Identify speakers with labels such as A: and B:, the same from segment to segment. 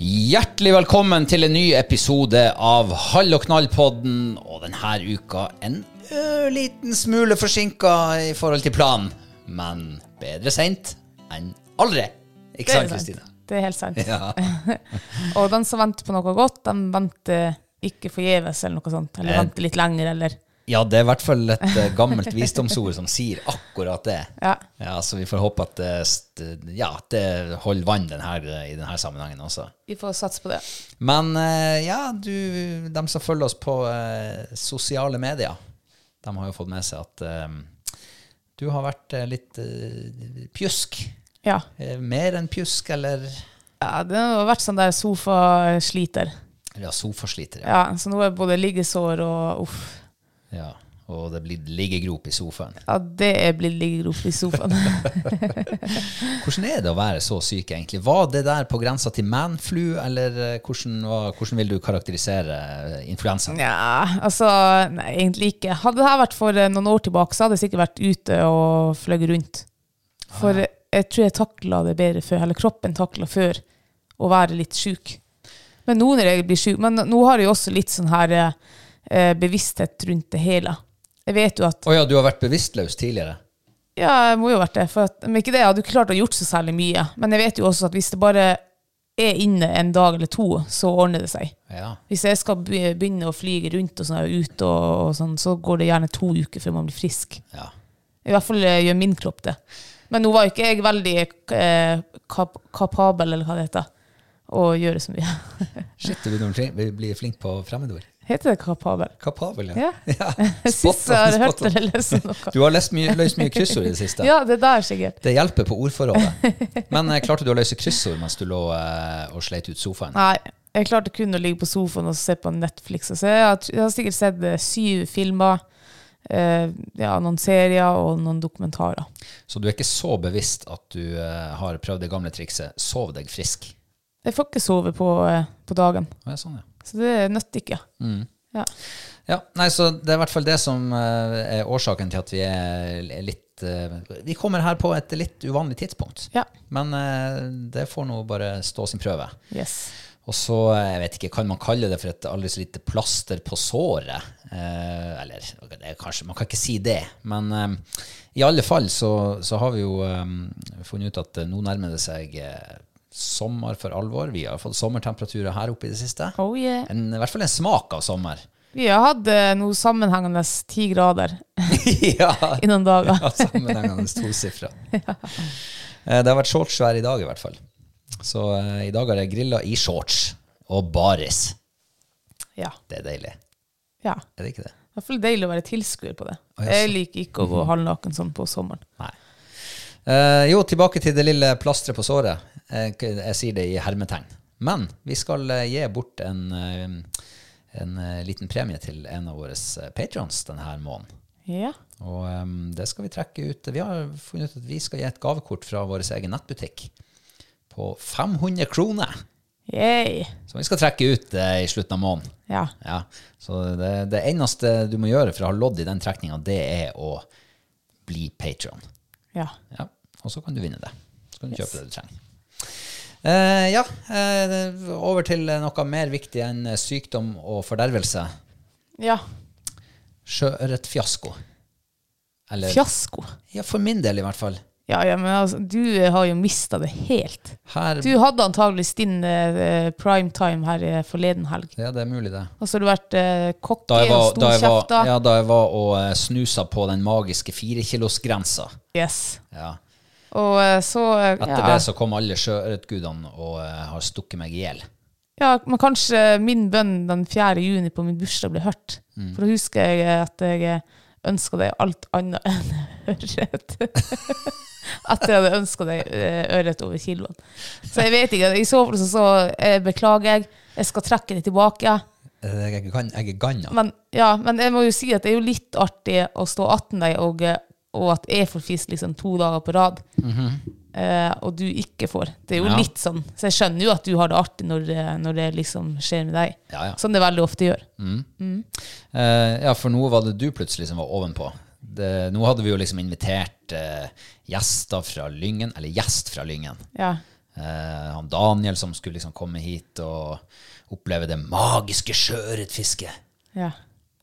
A: Hjertelig velkommen til en ny episode av Hall og knall-podden. Og denne uka en ørliten smule forsinka i forhold til planen. Men bedre seint enn aldri. Ikke sant, Kristine?
B: Det er helt sant.
A: Ja.
B: Og de som venter på noe godt, de venter ikke forgjeves eller noe sånt. Eller
A: Eh.
B: venter litt lenger, eller
A: ja, det er i hvert fall et eh, gammelt visdomsord som sier akkurat det.
B: Ja.
A: Så vi får håpe at det, st- ja, at det holder vann den her, eh, i denne sammenhengen også.
B: Vi får satse på det.
A: Men eh, ja, du, de som følger oss på eh, sosiale medier, de har jo fått med seg at eh, du har vært eh, litt eh, pjusk.
B: Ja.
A: Eh, mer enn pjusk, eller
B: ja det har vært sånn der sofasliter.
A: eller Ja, sofasliter. Ja.
B: Ja, så nå er både liggesår og uff.
A: ja. Og det blir liggegrop i sofaen.
B: Ja, det er blitt liggegrop i sofaen.
A: Hvordan er det å være så syk, egentlig? Var det der på grensa til manflu, eller eh, hvordan, var- hvordan vil du karakterisere eh, influensaen?
B: Nja, altså Nei, egentlig ikke. Hadde det her vært for eh, noen år tilbake, så hadde jeg sikkert vært ute og fløyet rundt. For eh, jeg tror jeg takla det bedre før, eller kroppen takla før, å være litt sjuk. Men nå når jeg blir sjuk Men nå har jeg jo også litt sånn her eh, eh, bevissthet rundt det hele. Jeg vet jo at
A: Å ja, du har vært bevisstløs tidligere.
B: ja, jeg må jo ha vært det. For at, om ikke det, jeg hadde jo klart å gjort så særlig mye. Men jeg vet jo også at hvis det bare er inne en dag eller to, så ordner det seg.
A: Ja.
B: Hvis jeg skal be- begynne å flyge rundt og sånn, her, ut og, og sånn, så går det gjerne to uker før man blir frisk.
A: ja.
B: I hvert fall eh, gjør min kropp det. Men nå var jo ikke jeg veldig eh, kap kapabel, eller hva det heter, å gjøre så mye.
A: Shit, vi blir flink- vi blir flinke på fremmedord.
B: Heter det kapabel?
A: Kapabel, ja.
B: Ja.
A: Ja,
B: Jeg synes
A: spot on,
B: jeg har
A: spot
B: hørt
A: on.
B: dere lese noe.
A: Du har løst mye, løst mye kryssord i det siste.
B: Ja, det der sikkert.
A: Det hjelper på ordforrådet. Men eh, klarte du å løse kryssord mens du lå eh, og sleit ut sofaen?
B: Nei, jeg klarte kun å ligge på sofaen og se på Netflix. Så jeg har, jeg har sikkert sett eh, syv filmer, eh, ja, noen serier og noen dokumentarer.
A: Så du er ikke så bevisst at du eh, har prøvd det gamle trikset 'sov deg frisk'?
B: Jeg får ikke sove på, eh, på dagen,
A: Ja, sånn, ja.
B: så det nytter ikke. Ja.
A: Ja, nei, så Det er i hvert fall det som eh, er årsaken til at vi er litt eh, Vi kommer her på et litt uvanlig tidspunkt.
B: Ja.
A: Men eh, det får nå bare stå sin prøve.
B: Yes.
A: Og så, jeg vet ikke, kan man kalle det for et aldri så lite plaster på såret? Eh, eller det er kanskje, man kan ikke si det. Men eh, i alle fall så, så har vi jo eh, funnet ut at eh, nå nærmer det seg eh, sommer for alvor. Vi har fått sommertemperaturer her oppe i det siste.
B: Oh yeah.
A: En, I hvert fall en smak av sommer.
B: Vi har hatt eh, noe sammenhengende ti grader
A: ja,
B: i noen dager.
A: ja, sammenhengende tosifra. Eh, det har vært shortsvær i dag, i hvert fall. Så eh, i dag har jeg grilla i shorts og baris.
B: Ja.
A: Det er deilig.
B: ja.
A: Er det ikke det?
B: I hvert fall deilig å være tilskuer på det.
A: Å, Mhm. jaså.
B: Jeg liker ikke å gå halvnaken sånn på sommeren.
A: Nei. Eh, jo, tilbake til det lille plasteret på såret. Eh, k- jeg sier det i hermetegn. Men vi skal eh, gi bort en, eh, en eh, liten premie til en av våre patrons denne her måneden.
B: Ja.
A: Og eh, det skal vi trekke ut. Vi har funnet ut at vi skal gi et gavekort fra vår egen nettbutikk på 500 kroner.
B: Yay.
A: Som vi skal trekke ut eh, i slutten av måneden.
B: Ja.
A: Ja, så det, det eneste du må gjøre for å ha lodd i den trekninga, det er å bli patron.
B: ja.
A: Ja, og så kan du vinne det. Så kan du kjøpe det du trenger. Eh, ja, eh, over til noe mer viktig enn eh, sykdom og fordervelse.
B: Ja.
A: Sjøørretfiasko. Eller
B: Fiasko.
A: Ja, for min del i hvert fall.
B: Ja, ja, men altså, du har jo mista det helt.
A: Her
B: Du hadde antageligvis din eh, primetime her eh, forleden helg.
A: Ja, det er mulig, det.
B: Og så har du vært eh, kokke
A: Da jeg
B: og
A: var, da jeg var,
B: storkjefta.
A: ja, da jeg var og eh, snusa på den magiske firekilosgrensa.
B: Yes.
A: Ja.
B: Og eh, så eh,
A: Etter
B: ja.
A: det så kom alle sjøørretgudene og eh, har stukket meg i hjel.
B: ja, men kanskje min bønn den 4. juni på min bursdag ble hørt. For da husker jeg eh, at jeg ønska deg alt annet enn ørret. At jeg hadde ønska deg eh, ørret over kiloen. Så jeg vet ikke. I så fall så, så eh, beklager jeg. Jeg skal trekke det tilbake.
A: Eh, Jeg er gan- jeg er ganna.
B: Men, ja, men jeg må jo si at det er jo litt artig å stå atten deg, og, og at jeg får fisk liksom to dager på rad, eh, og du ikke får. Det er jo
A: Mhm. Ja.
B: litt sånn. Så jeg skjønner jo at du har det artig når, eh, når det liksom skjer med deg.
A: Ja, Mm. ja.
B: Som det veldig ofte gjør.
A: Eh, ja, for nå var det du plutselig som var ovenpå. Det, nå hadde vi jo liksom invitert eh, gjester fra Lyngen, eller gjest fra Lyngen.
B: Ja.
A: Eh, han Daniel som skulle liksom komme hit og oppleve det magiske sjøørretfisket.
B: ja.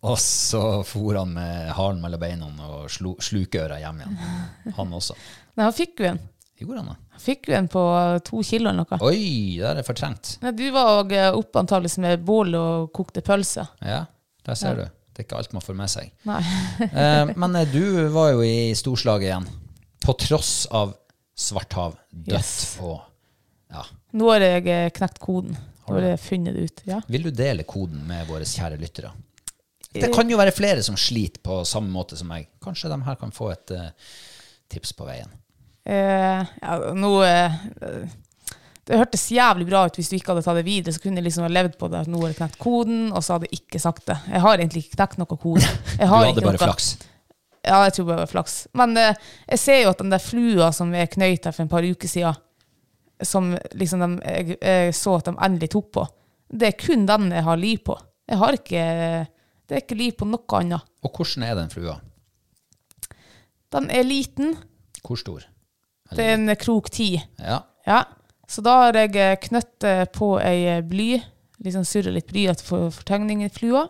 A: Og så for han med halen mellom beina og slu, slukøra hjem igjen. Han også.
B: Nei, han fikk jo en.
A: Gjorde han det?
B: Han fikk jo en på to kilo eller noe.
A: Oi, der er det fortrengt.
B: Nei, du var og, eh, oppe antageligvis med bål og kokte pølser.
A: Ja, der ser du. Det er ikke alt man får med seg.
B: Nei.
A: Eh, men eh, du var jo i storslaget igjen. På tross av Svarthav, dødt
B: Yes.
A: og ja.
B: Nå har jeg eh, knekt koden. Nå har jeg funnet det ut. Ja.
A: Vil du dele koden med våre kjære lyttere?
B: Eh.
A: Det kan jo være flere som sliter på samme måte som meg. Kanskje de her kan få et eh, tips på veien.
B: Eh, ja, nå eh, Det hørtes jævlig bra ut hvis du ikke hadde tatt det videre. Så kunne jeg liksom ha levd på det at nå har jeg knekt koden, og så hadde jeg ikke sagt det. Jeg har egentlig ikke knekt noe kode. Jeg
A: Du
B: har
A: hadde
B: ikke
A: bare
B: noe-
A: flaks.
B: Ja, jeg tror bare det var flaks. Men eh, jeg ser jo at den der flua som jeg knøyt her for en par uker siden, som liksom de, jeg, jeg så at de endelig tok på, det er kun den jeg har liv på. Jeg har ikke Det er ikke liv på noe annet.
A: Og hvordan er den flua?
B: Den er liten.
A: Hvor stor?
B: Det er en krok ti.
A: Ja.
B: Ja, så da har jeg eh, knøtt eh, på ei eh, bly, liksom surret litt bly at for fortegning i flua.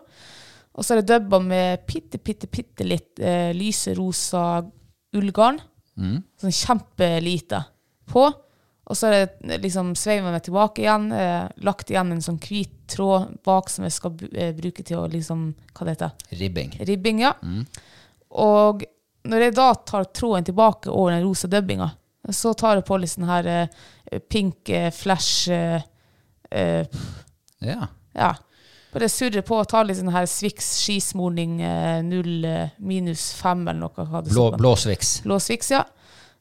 B: Og så er det dubba med bitte, bitte, bitte litt eh, lyserosa ullgarn. Sånn kjempelite på. Og så er det eh, liksom sveiva meg tilbake igjen, eh, lagt igjen en sånn hvit tråd bak som jeg skal bu- eh, bruke til å liksom, hva det heter,
A: Ribbing.
B: ribbing, ja.
A: Mm.
B: Og når jeg da tar tråden tilbake over den rosa dubbinga, så tar jeg på litt sånn her eh, pink eh, flash eh, eh,
A: Ja.
B: Ja. Bare surrer på og tar litt sånn her Swix skismorning eh, null eh, minus fem eller noe. hva det
A: Blå,
B: står på.
A: blå sviks.
B: blå Swix, ja.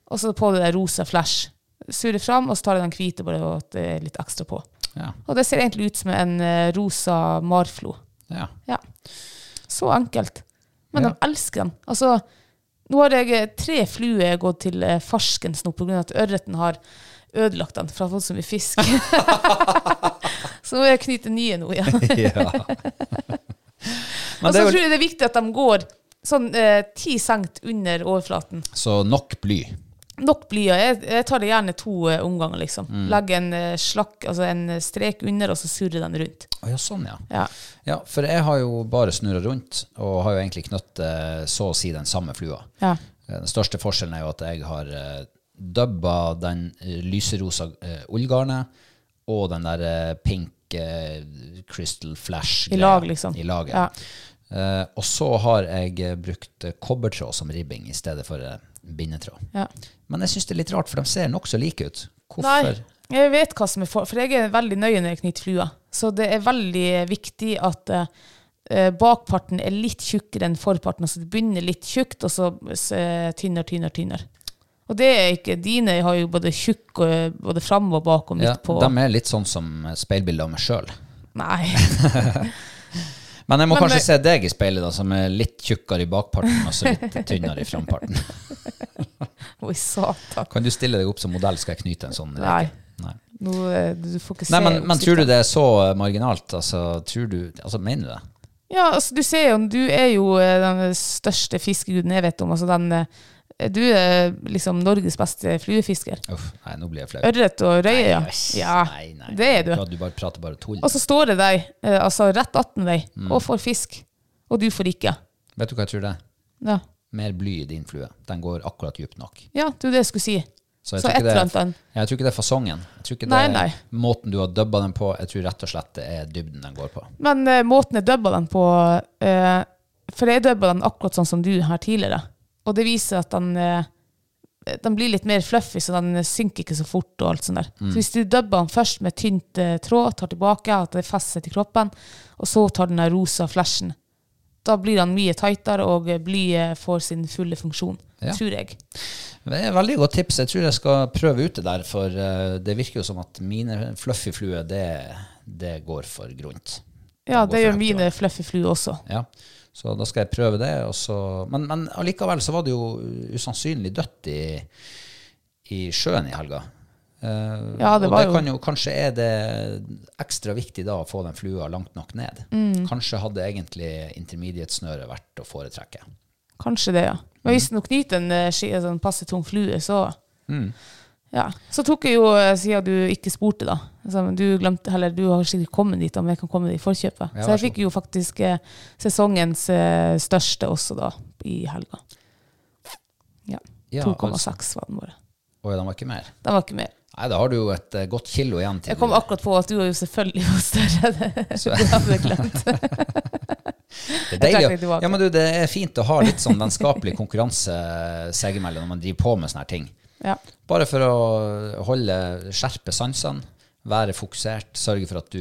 B: Og så på det der rosa flash. Surrer fram, og så tar jeg den hvite bare og at det er litt ekstra på.
A: Ja.
B: Og det ser egentlig ut som en eh, rosa marflo.
A: ja.
B: Ja. Så enkelt. Men de elsker den. Altså, nå har jeg eh, tre fluer jeg har gått til eh, farskens nå pga. at ørreten har ødelagt den, for jeg har fått så mye fisk. så nå må jeg knyte nye nå igjen.
A: ja.
B: Og
A: Men
B: så
A: det er
B: tror
A: jo,
B: jeg det er viktig at de går sånn ti senkt under overflaten.
A: så nok bly.
B: Nok blyer. Jeg, jeg tar det gjerne to eh, omganger, liksom.
A: Mm.
B: Legger en eh, slakk, altså en eh, strek under, og så surrer den rundt.
A: Å ja, sånn, ja.
B: Ja.
A: Ja, for jeg har jo bare snurra rundt, og har jo egentlig knøtt eh, så å si den samme flua.
B: Ja.
A: Eh, Den største forskjellen er jo at jeg har eh, dubba den eh, lyserosa eh, ullgarnet og den der eh, pink eh, crystal flash
B: I lag, liksom.
A: I lag, ja.
B: Ja.
A: Eh, og så har jeg eh, brukt eh, kobbertråd som ribbing i stedet for eh, bindetråd.
B: Ja.
A: Men jeg syns det er litt rart, for de ser nokså like ut.
B: Nei,
A: Hvorfor?
B: Jeg vet hva som er for, for jeg er veldig nøye når jeg knytter flua. Så det er veldig viktig at eh, bakparten er litt tjukkere enn forparten. Altså det begynner litt tjukt, og så eh, tynnere, tynnere, tynnere. Og det er ikke, dine har jo både tjukk og eh, både fram og bak og midt
A: Ja,
B: på.
A: de er litt sånn som speilbildet av meg sjøl.
B: Nei.
A: Men jeg må
B: Men
A: kanskje
B: det-
A: se deg i speilet, da, som er litt tjukkere i bakparten og så litt tynnere i framparten.
B: Oi, satan.
A: Kan du stille deg opp som modell, skal jeg knyte en sånn
B: Nei.
A: Nei.
B: Nå, eh, du får
A: Nei,
B: ikke
A: men,
B: se
A: men
B: oppskriften.
A: tror du det er så eh, marginalt? Altså, tror du, altså mener du det?
B: Ja, altså du ser jo, du er jo eh, den største fiskeguden jeg vet om. Altså den, eh, du er liksom Norges beste fluefisker.
A: Uff, nei, nå blir jeg flau.
B: Ørret og røye, ja.
A: Æsj,
B: ja.
A: nei, nei.
B: Det er du.
A: Ja, du bare prater bare tull.
B: Og så står det deg, eh, altså rett atten deg,
A: Mm.
B: og får fisk. Og du får ikke.
A: Vet du hva jeg tror det er?
B: Ja,
A: Mer bly i din flue. Den går akkurat djupt nok.
B: ja det er det jeg skulle si.
A: Så, jeg,
B: Så
A: tror ikke
B: et eller
A: det,
B: annet annet.
A: jeg tror ikke det er fasongen. Jeg tror ikke det
B: Nei,
A: er
B: nei.
A: måten du har dubba den på. Jeg tror rett og slett det er dybden den går på.
B: Men eh, måten jeg dubba den på eh, For jeg dubba den akkurat sånn som du her tidligere. Og det viser at den, eh, den blir litt mer fluffy, så den synker ikke så fort. og alt sånt der.
A: Mm.
B: Så hvis du dubber den først med tynt eh, tråd, tar tilbake, at det fester seg til kroppen, og så tar den der rosa flashen, da blir den mye tightere, og eh, blyet får sin fulle funksjon.
A: Ja.
B: Tror jeg.
A: Det er et veldig godt tips. Jeg tror jeg skal prøve ut det der, for eh, det virker jo som at mine fluffy fluer, det, det går for grunt.
B: Ja,
A: Den går
B: det
A: for
B: gjør
A: heftig,
B: mine
A: da.
B: fluffy fluer også.
A: Ja, så da skal jeg prøve det. Og så, men, men allikevel så var det jo usannsynlig dødt i, i sjøen i helga. Eh,
B: Ja, det
A: og
B: var
A: det
B: jo-
A: kan jo Kanskje er det ekstra viktig da å få den flua langt nok ned.
B: Mm.
A: Kanskje hadde egentlig intermediate-snøret vært å foretrekke.
B: Kanskje det, ja. Men hvis du knyter en, eh, ski- altså en passe tung flue, så
A: Mm.
B: Ja. Så tok jeg jo, eh, siden du ikke spurte, da altså, men Du glemte heller, du har sikkert kommet dit, om jeg kan komme dit i forkjøpet.
A: Ja,
B: så jeg
A: vær så
B: fikk jo faktisk eh, sesongens eh, største også, da, i helga. Ja.
A: Ja,
B: 2,6
A: altså.
B: var den vår.
A: Og den var ikke mer.
B: Den var ikke mer.
A: Nei, da har du jo et eh, godt kilo igjen til
B: Jeg kom
A: du-
B: akkurat på at du var jo selvfølgelig var større.
A: Så-
B: det hadde jeg glemt.
A: Det
B: Jeg
A: er
B: trekker det
A: deilig.
B: tilbake.
A: Ja, men du, det er fint å ha litt sånn vennskapelig konkurranse seg imellom når man driver på med sånne her ting.
B: Ja.
A: Bare for å holde, skjerpe sansene, være fokusert, sørge for at du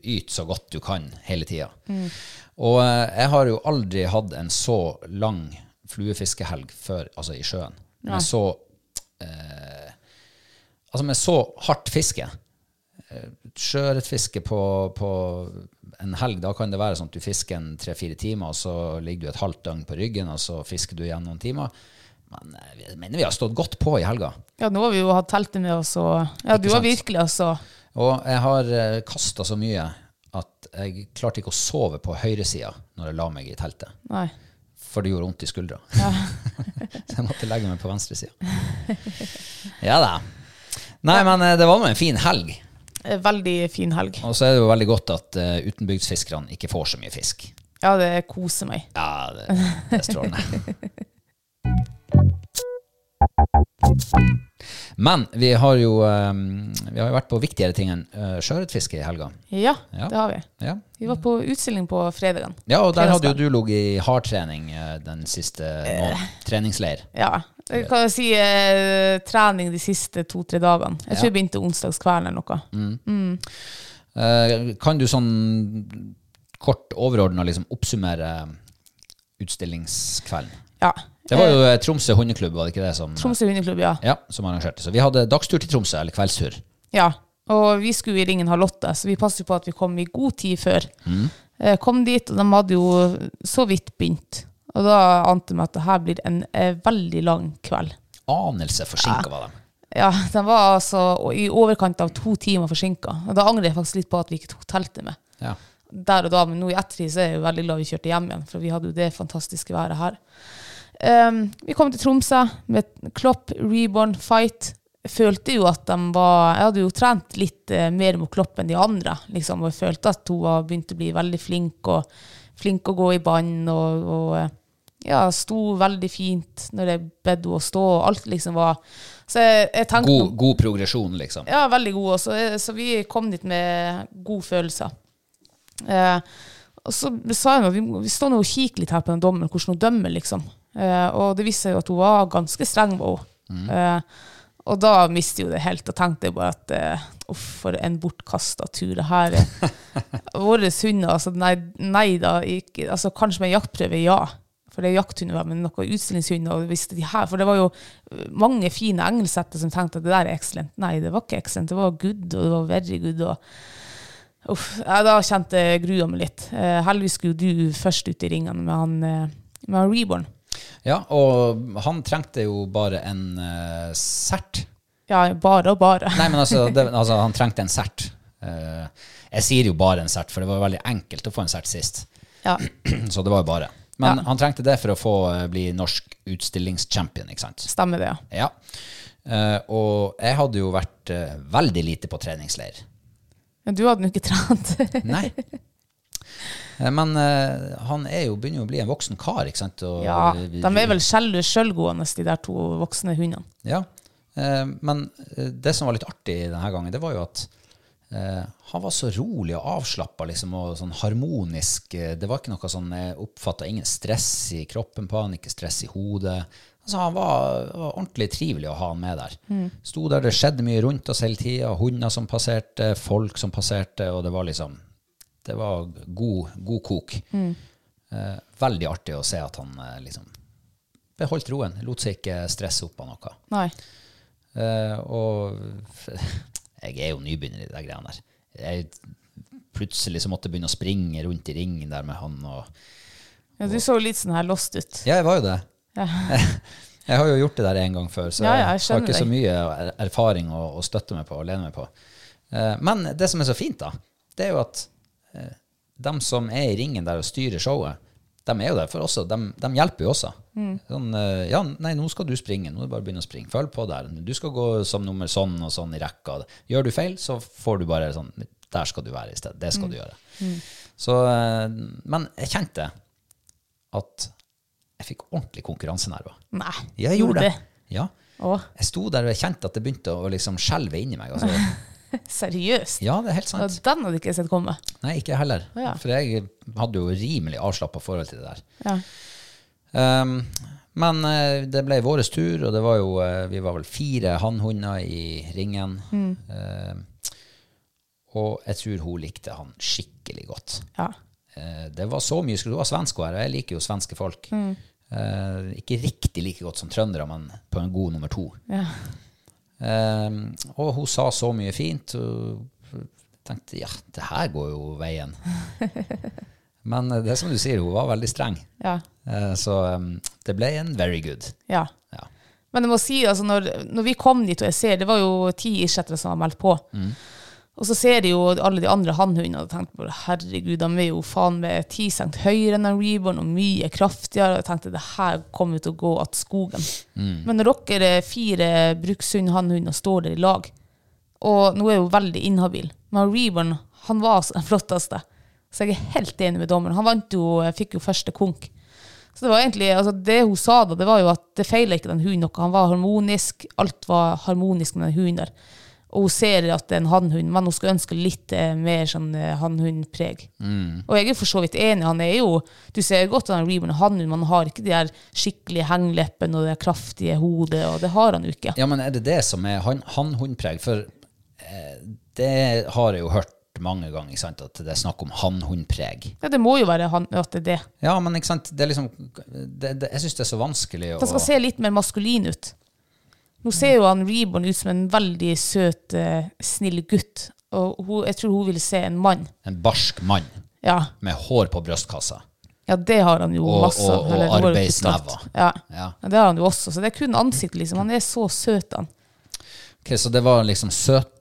A: yter så godt du kan hele tida. Og eh, jeg har jo aldri hatt en så lang fluefiskehelg før, altså i sjøen, med så, eh, altså med så hardt fiske. Eh, Sjøørretfiske på, på en helg, da kan det være sånn at du fisker en tre-fire timer, og så ligger du et halvt døgn på ryggen, og så fisker du igjen noen timer. Men eh, jeg mener vi har stått godt på i helga.
B: ja, nå har vi jo hatt teltet med oss, og ja, du har
A: sant?
B: virkelig altså
A: Og jeg har kasta så mye at jeg klarte ikke å sove på høyresida når jeg la meg i teltet.
B: Nei.
A: For det gjorde vondt i skuldra. så jeg måtte legge meg på venstresida. Ja da. Nei, men eh, det var nå en fin helg.
B: Eh, Veldig fin helg.
A: Og så er det jo veldig godt at eh, utenbygdsfiskerne ikke får så mye fisk.
B: Ja, det koser meg.
A: Ja, det, det er strålende. Men vi har jo eh, vi har jo vært på viktigere ting enn uh, sjøørretfiske i helga.
B: Ja, Mm.
A: Ja.
B: det har vi.
A: Ja,
B: Vi var på utstilling på fredagen.
A: Ja, og der hadde jo du ligget i hardtrening eh, den siste måneden. Treningsleir.
B: Ja. Jeg kan jo si eh, trening de siste to-tre dagene. Jeg tror jeg begynte onsdagskvelden eller noe.
A: Eh, Kan du sånn kort overordna liksom oppsummere utstillingskvelden?
B: Ja.
A: Det var jo eh, Tromsø hundeklubb, var det ikke det, som,
B: Tromsø hundeklubb, ja.
A: ja, som arrangerte? Så vi hadde dagstur til Tromsø, eller kveldstur.
B: ja. Og vi skulle i ringen Charlotte, så vi passet på at vi kom i god tid før. Eh, Kom dit, og de hadde jo så vidt begynt. Og da ante vi at det her blir en eh, veldig lang kveld.
A: Anelse forsinka var de.
B: Ja, den var altså i overkant av to timer forsinka. Og da angrer jeg faktisk litt på at vi ikke tok teltet med.
A: Ja.
B: der og da, men nå i ettertid så er jeg jo veldig glad vi kjørte hjem igjen, for vi hadde jo det fantastiske været her. Ehm, vi kom til Tromsø med Klopp, Reborn, Fight. Jeg følte jo at de var Jeg hadde jo trent litt eh, mer mot Klopp enn de andre, liksom, og jeg følte at hun var begynt å bli veldig flink, og flink å gå i bånd, og, og eh, ja, sto veldig fint når jeg bedde henne å stå, og alt liksom var Så jeg, jeg tenkte
A: God, god progresjon, liksom.
B: ja, veldig god også. Eh, Så vi kom dit med god følelse. Eh, og så sa hun at vi, må- vi står nå og kikker litt her på den dommen, hvordan hun dømmer, liksom. Eh, og det viste seg jo at hun var ganske streng med henne. Eh, Og da mister jo det helt. Da tenkte jeg bare at eh, uff, for en bortkasta tur det her er. Våre hunder, altså nei, nei da, ikke, altså kanskje med jaktprøve, ja. For det er jakthunder, ja, men noen utstillingshunder og hvis de her, For det var jo eh, mange fine engelshetter som tenkte at det der er excellent. Nei, det var ikke excellent. Det var good, og det var very good. og Uff, ja, da kjente jeg grua meg litt. Eh, heldigvis skulle du først ut i ringene med han, eh, med han Reborn.
A: Ja, og han trengte jo bare en eh, sert.
B: Ja, bare og bare.
A: Nei, men altså, det, altså han trengte en sert. Eh, jeg sier jo bare en sert, for det var veldig enkelt å få en sert sist.
B: Ja.
A: Så det var jo bare. Men
B: Ja.
A: han trengte det for å få eh, bli norsk utstillingschampion, ikke sant?
B: Stemmer det, ja.
A: Ja. Eh, og jeg hadde jo vært eh, veldig lite på treningsleir.
B: Men du hadde nå ikke trent.
A: Nei. Eh, Men eh, han er jo, begynner jo å bli en voksen kar, ikke sant? Og,
B: ja, de er vel sjel- sjølgående, de der to voksne hundene.
A: Ja. Eh, men eh, det som var litt artig denne gangen, det var jo at eh, han var så rolig og avslappa liksom, og sånn harmonisk. Eh, Det var ikke noe sånn Jeg oppfatta ingen stress i kroppen på han, ikke stress i hodet. Altså, han var, var ordentlig trivelig å ha han med der. Sto der, det skjedde mye rundt oss hele tida. Hunder som passerte, folk som passerte, og det var liksom Det var god, god kok. Eh, veldig artig å se at han eh, liksom beholdt roen. Lot seg ikke stresse opp av noe.
B: Nei.
A: Eh, og jeg er jo nybegynner i de der greiene der. Jeg plutselig så måtte jeg begynne å springe rundt i ringen der med han. Og,
B: Ja, du så jo litt sånn her lost ut.
A: ja, jeg var jo det.
B: Ja.
A: Jeg har jo gjort det der en gang før, så
B: Ja, ja, jeg
A: jeg har
B: skjønner
A: ikke så
B: deg.
A: mye er- erfaring å, å støtte meg på og lene meg på. Eh, Men det som er så fint, da, det er jo at eh, dem som er i ringen der og styrer showet, de er jo der for oss, og de, de hjelper jo også.
B: Mm.
A: Sånn, eh, ja, nei, nå skal du springe, nå er det bare å begynne å springe. Følg på der. Du skal gå som nummer sånn og sånn i rekka. Gjør du feil, så får du bare sånn Der skal du være i stedet. Det skal
B: Mm.
A: du gjøre. Så, eh, men jeg kjente at jeg fikk ordentlig konkurransenerver.
B: Nei.
A: Ja, jeg gjorde det. Ja.
B: Å,
A: Jeg sto der og jeg kjente at det begynte å liksom skjelve inni meg. Altså.
B: seriøst?
A: Ja, det er helt
B: Ja,
A: sant.
B: den hadde ikke jeg sett komme.
A: Nei, ikke jeg heller.
B: Å, ja.
A: For jeg hadde jo rimelig avslappa forhold til det der.
B: Ja.
A: Um, men eh, det ble vår tur, og det var jo, eh, vi var vel fire hannhunder i ringen.
B: Mm.
A: Um, og jeg tror hun likte han skikkelig godt.
B: ja.
A: Eh, det var så mye skru. Hun var svensk hun her, og jeg liker jo svenske folk.
B: Mm.
A: Eh, ikke riktig like godt som trøndere, men på en god nummer to.
B: ja.
A: Eh, og hun sa så mye fint. Og tenkte ja, det her går jo veien. Men eh, det er som du sier, hun var veldig streng.
B: ja.
A: Eh, så eh, det ble en very good.
B: ja.
A: Ja.
B: Men jeg må si, altså, når, når vi kom dit, og jeg ser, det var jo ti isettere som var meldt på. Og så ser jeg jo alle de andre hannhundene og tenkte bare, herregud, de er jo faen med ti cent høyere enn en Reborn og mye kraftigere. Og jeg tenkte det her kommer jo til å gå at skogen. Men når dere fire brukshund-hannhunder står der i lag, og nå er jeg jo veldig inhabil, men Reborn han var altså den flotteste. Så jeg er helt enig med dommeren. Han vant jo, fikk jo første konk. Så det var egentlig, altså det hun sa da, det var jo at det feiler ikke den hunden noe. Han var harmonisk, alt var harmonisk med den hunden der. Og hun ser at det er en hannhund, men hun skulle ønske litt eh, mer sånn eh, hannhundpreg. Og jeg er for så vidt enig, han er jo, du ser jo godt at han er reborn hannhund, men han har ikke de der skikkelige hengleppene og det kraftige hodet, og det har han jo ikke.
A: Ja, men er det det som er han- hann-hun-preg? For eh, det har jeg jo hørt mange ganger, ikke sant? at det er snakk om han-hun-preg.
B: Ja, det må jo være han, at det er det.
A: Ja, men ikke sant? Det er liksom, det, det, jeg syns det er så vanskelig å
B: Han skal se litt mer maskulin ut. Nå ser jo han Reborn ut som en veldig søt, eh, snill gutt. Og hun, jeg tror hun vil se en mann.
A: En barsk mann
B: Ja,
A: med hår på brystkassa.
B: ja det har han jo
A: Og-
B: masse
A: og- og
B: eller det var jo
A: arbeidsnever.
B: betalt. Ja.
A: Ja.
B: ja, det har han jo også. Så det er kun ansiktet, liksom. Han er så søt, han.
A: Ok, så det var liksom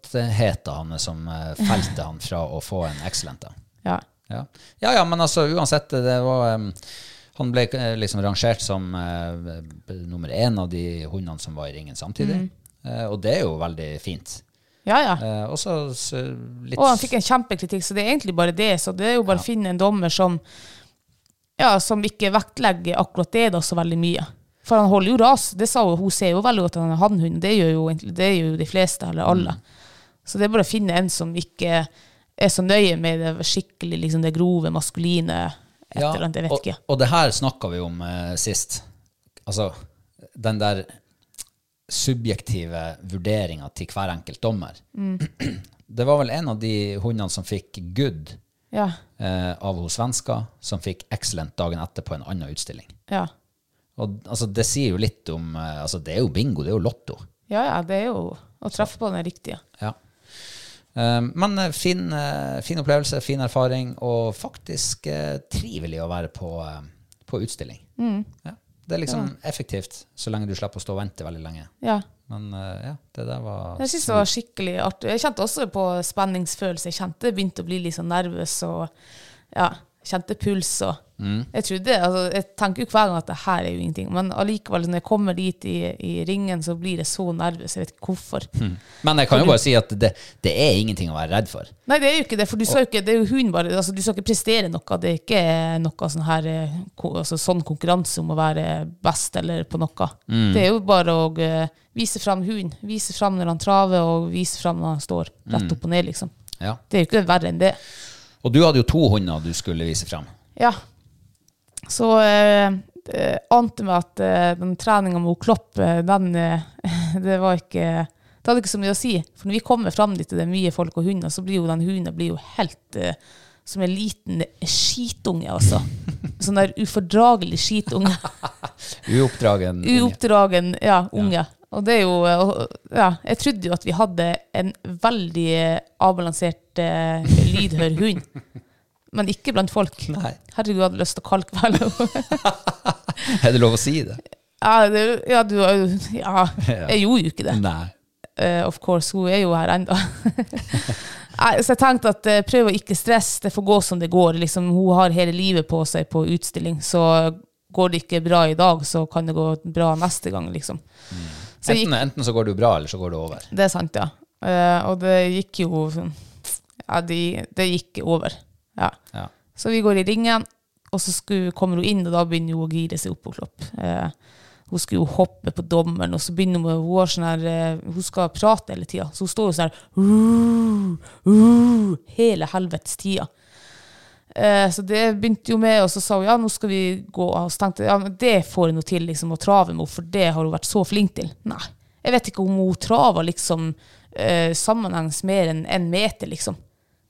A: søtheten hans som eh, felte han fra å få en excellent. Da.
B: Ja.
A: Ja. ja, ja, men altså uansett, det var em, Han ble eh, liksom rangert som eh, b- nummer én av de hundene som var i ringen samtidig.
B: Mm.
A: Eh, og det er jo veldig fint.
B: ja, ja.
A: Eh, også s- litt
B: Og han fikk en kjempekritikk, så det er egentlig bare det. Så det er jo bare å finne en dommer som, ja, som ikke vektlegger akkurat det da så veldig mye. For han holder jo ras. Det sa jo, hun ser jo veldig godt at han er hannhund. Det gjør jo, egentlig- det gjør jo de fleste, eller alle. Så det er bare å finne en som ikke er så nøye med det skikkelig liksom det grove, maskuline, et eller annet, jeg vet
A: og,
B: ikke.
A: Og det her snakka vi om eh, sist. Altså, den der subjektive vurderinger til hver enkelt dommer.
B: Mm.
A: Det var vel en av de hundene som fikk good
B: Ja.
A: eh, av hos svenska, som fikk excellent dagen etter på en annen utstilling.
B: Ja.
A: Og altså, Det sier jo litt om eh, altså, Det er jo bingo, det er jo lotto.
B: ja, ja, det er jo å treffe på den riktige.
A: Ja. Eh, men eh, fin, eh, fin opplevelse, fin erfaring, og faktisk eh, trivelig å være på, eh, på utstilling.
B: Mm.
A: Ja. Det er liksom effektivt, så lenge du slipper å stå og vente veldig lenge.
B: Ja.
A: Men eh, ja, det der var
B: Jeg synes det var skikkelig artig. Jeg kjente også på spenningsfølelse. Jeg kjente jeg begynte å bli litt sånn nervøs og ja, kjente puls og Jeg trodde, altså, jeg tenker jo hver gang at det her er jo ingenting, men allikevel, når jeg kommer dit i, i ringen, så blir jeg så nervøs. Jeg vet ikke hvorfor.
A: Hm. Mm. Men jeg kan jo bare si at det, det er ingenting å være redd for.
B: Nei, det er jo ikke det, for du skal jo ikke, det er jo hun bare, altså, du skal ikke prestere noe. Det er ikke noe sånn her, eh, ko- altså, sånn konkurranse om å være best eller på noe. Det er jo bare å eh, vise fram hun, vise fram når han traver, og vise fram når han står rett opp og ned, liksom.
A: Ja.
B: Det er jo ikke verre enn det.
A: Og du hadde jo to hunder du skulle vise frem.
B: Ja. Så eh, det ante meg at eh, den treninga med Klopp, eh, den eh, Det var ikke Det hadde ikke så mye å si. For når vi kommer fram dit, og det er mye folk og hunder, så blir jo den hunden blir jo helt eh, som en liten skitunge, altså. Sånn der ufordragelig skitunge.
A: Uoppdragen unge.
B: Uoppdragen ja, unge. Og det er jo eh, og- Ja, jeg trodde jo at vi hadde en veldig avbalansert, eh, lydhør hund. Men ikke blant folk.
A: Nei.
B: Herregud, jeg hadde lyst til å kalke vel.
A: Er det lov å si det?
B: ja, det, ja, du har jo- Ja, jeg gjorde jo ikke det.
A: Nei.
B: Eh, of course, hun er jo her ennå. Nei, så jeg tenkte at eh, prøv å ikke stresse, det får gå som det går. Liksom, hun har hele livet på seg på utstilling, så går det ikke bra i dag, så kan det gå bra neste gang, liksom. Så jeg gikk
A: Enten, enten så går det jo bra, eller så går det over.
B: Det er sant, ja. Eh, og det gikk jo sånn- Ja, de, det gikk over. Ja.
A: Ja.
B: Så vi går i ringen, og så skulle, kommer hun inn, og da begynner hun å gire seg opp på klopp. Eh, hun skulle jo hoppe på dommeren, og så begynner hun å hun har sånn her, eh, Hun skal prate hele tida, så hun står jo sånn her «Uh, uh», Hele helvetes tida. Eh, så det begynte jo med, og så sa hun ja, nå skal vi gå av. Og så tenkte jeg ja, men det får hun jo til, liksom, å trave med henne, for det har hun vært så flink til. Nei. Jeg vet ikke om hun traver liksom eh, sammenhengs mer enn en meter, liksom.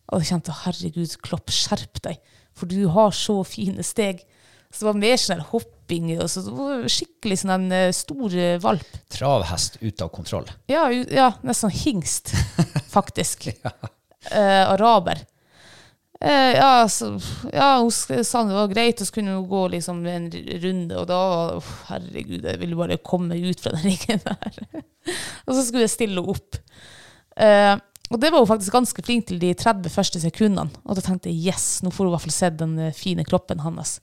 B: Og jeg kjente herregud, Klopp, skjerp deg, for du har så fine steg. Så det var mer sånn her hopping, og så det var skikkelig sånn en eh, stor eh, valp.
A: Travhest ut av kontroll.
B: Ja, u- ja nesten hingst, faktisk. Eh, araber. Eh, ja, så, ja, hun sk- sa det var greit, og så kunne hun gå liksom en r- runde, og da var uff, Herregud, jeg ville bare komme ut fra den ringen der. og så skulle jeg stille opp. Eh, og det var hun faktisk ganske flink til de 30 første sekundene. Og da tenkte jeg yes, nå får hun i hvert fall sett den eh, fine kroppen hans.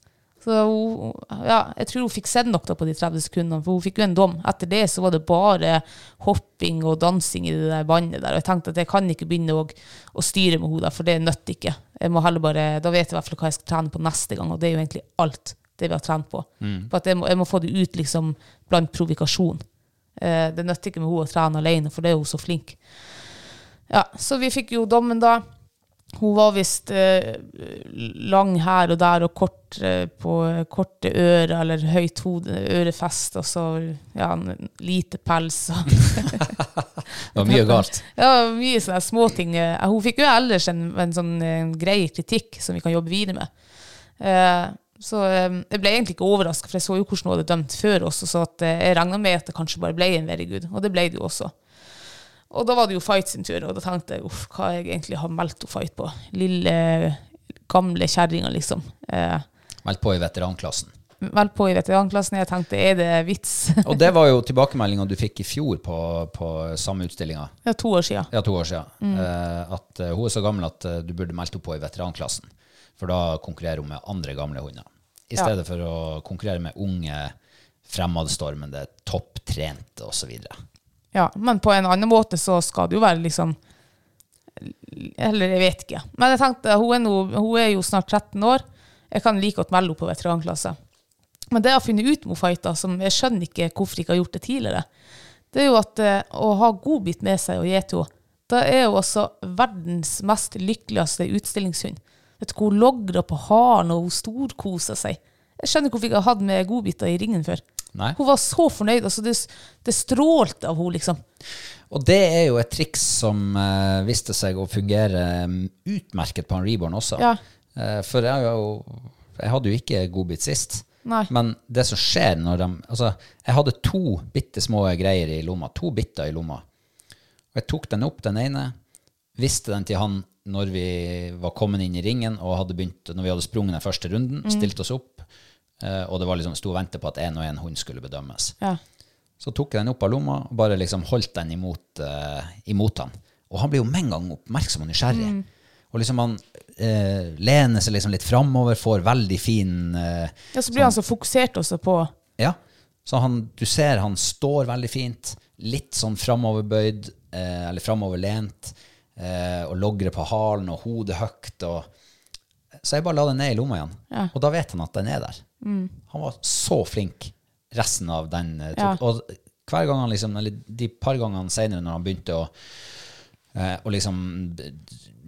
B: Så hun, ja, jeg tror hun fikk sett nok da på de 30 sekundene, for hun fikk jo en dom. Etter det så var det bare hopping og dansing i det der bandet der. Og jeg tenkte at jeg kan ikke begynne å, å styre med henne, for det nøtter ikke. Jeg må heller bare, Da vet jeg i hvert fall hva jeg skal trene på neste gang, og det er jo egentlig alt det vi har trent på. For at jeg, må, jeg må få det ut liksom blant provokasjon. Eh, det nøtter ikke med henne å trene alene, for det er hun så flink. Ja, så vi fikk jo dommen da. Hun var visst eh, lang her og der og kort eh, på korte ører eller høyt hode, ørefest og så ja, en lite pels. Og,
A: Det var mye galt.
B: ja, mye sånne småting. Eh, Hun fikk jo ellers en, en sånn eh, grei kritikk som vi kan jobbe videre med. Eh, så eh, jeg ble egentlig ikke overraska, for jeg så jo hvordan hun hadde dømt før også, så at, eh, jeg regna med at det kanskje bare ble en very good, og det ble det jo også. Og da var det jo Fight sin tur, og da tenkte jeg uff, hva jeg egentlig har meldt henne Fight på. Lille, gamle kjerringa, liksom. Eh,
A: Meldt på i veteranklassen.
B: vel på i veteranklassen. Jeg tenkte, er det vits?
A: Og det var jo tilbakemeldinga du fikk i fjor på, på samme utstillinga,
B: Det er to år sia.
A: ja, to år siden, eh, at eh, hun er så gammel at eh, du burde meldt henne på i veteranklassen. For da konkurrerer hun med andre gamle hunder. I
B: Ja.
A: stedet for å konkurrere med unge, fremadstormende, topptrente osv.
B: Ja, men på en annen måte så skal det jo være liksom Eller jeg vet ikke. Men jeg tenkte, hun er, nå- hun er jo snart 13 år. Jeg kan like godt melde henne på veteranklasse. Men det jeg har funnet ut med fighter, som jeg skjønner ikke hvorfor jeg ikke har gjort det tidligere, det er jo at eh, å ha godbit med seg og gi til henne, da er hun altså verdens mest lykkeligste utstillingshund. Vet du, Hun logrer på haren, og hun storkoser seg. Jeg skjønner ikke hvorfor jeg ikke har hatt med godbiter i ringen før.
A: Nei.
B: Hun var så fornøyd. Altså, det, det strålte av henne, liksom.
A: Og det er jo et triks som eh, viste seg å fungere mm, utmerket på en reborn også.
B: Ja.
A: Eh, for jeg, har jo, jeg hadde jo ikke godbit sist.
B: Nei.
A: Men det som skjer når de Altså, jeg hadde to bitte små greier i lomma. To bitter i lomma. Og jeg tok den opp, den ene, viste den til han når vi var kommet inn i ringen, og hadde begynt, når vi hadde sprunget den første runden,
B: Mm.
A: stilte oss opp, eh, og det var liksom, sto og ventet på at én og én hund skulle bedømmes.
B: Ja.
A: Så tok jeg den opp av lomma og bare liksom holdt den imot, eh, imot han. Og han blir jo med en gang oppmerksom og nysgjerrig. Og liksom han eh, lener seg liksom litt framover, får veldig fin eh,
B: ja, så blir han så fokusert også på
A: Ja. Så han, du ser han står veldig fint, litt sånn framoverbøyd, eh, eller framoverlent, eh, og logrer på halen og hodet høyt. Og, så jeg bare la den ned i lomma igjen.
B: Ja. Mm.
A: Og da vet han at den er der. Han var så flink resten av den. eh,
B: Ja.
A: tok- Og hver gang han liksom, eller de par gangene senere når han begynte å eh, og liksom b-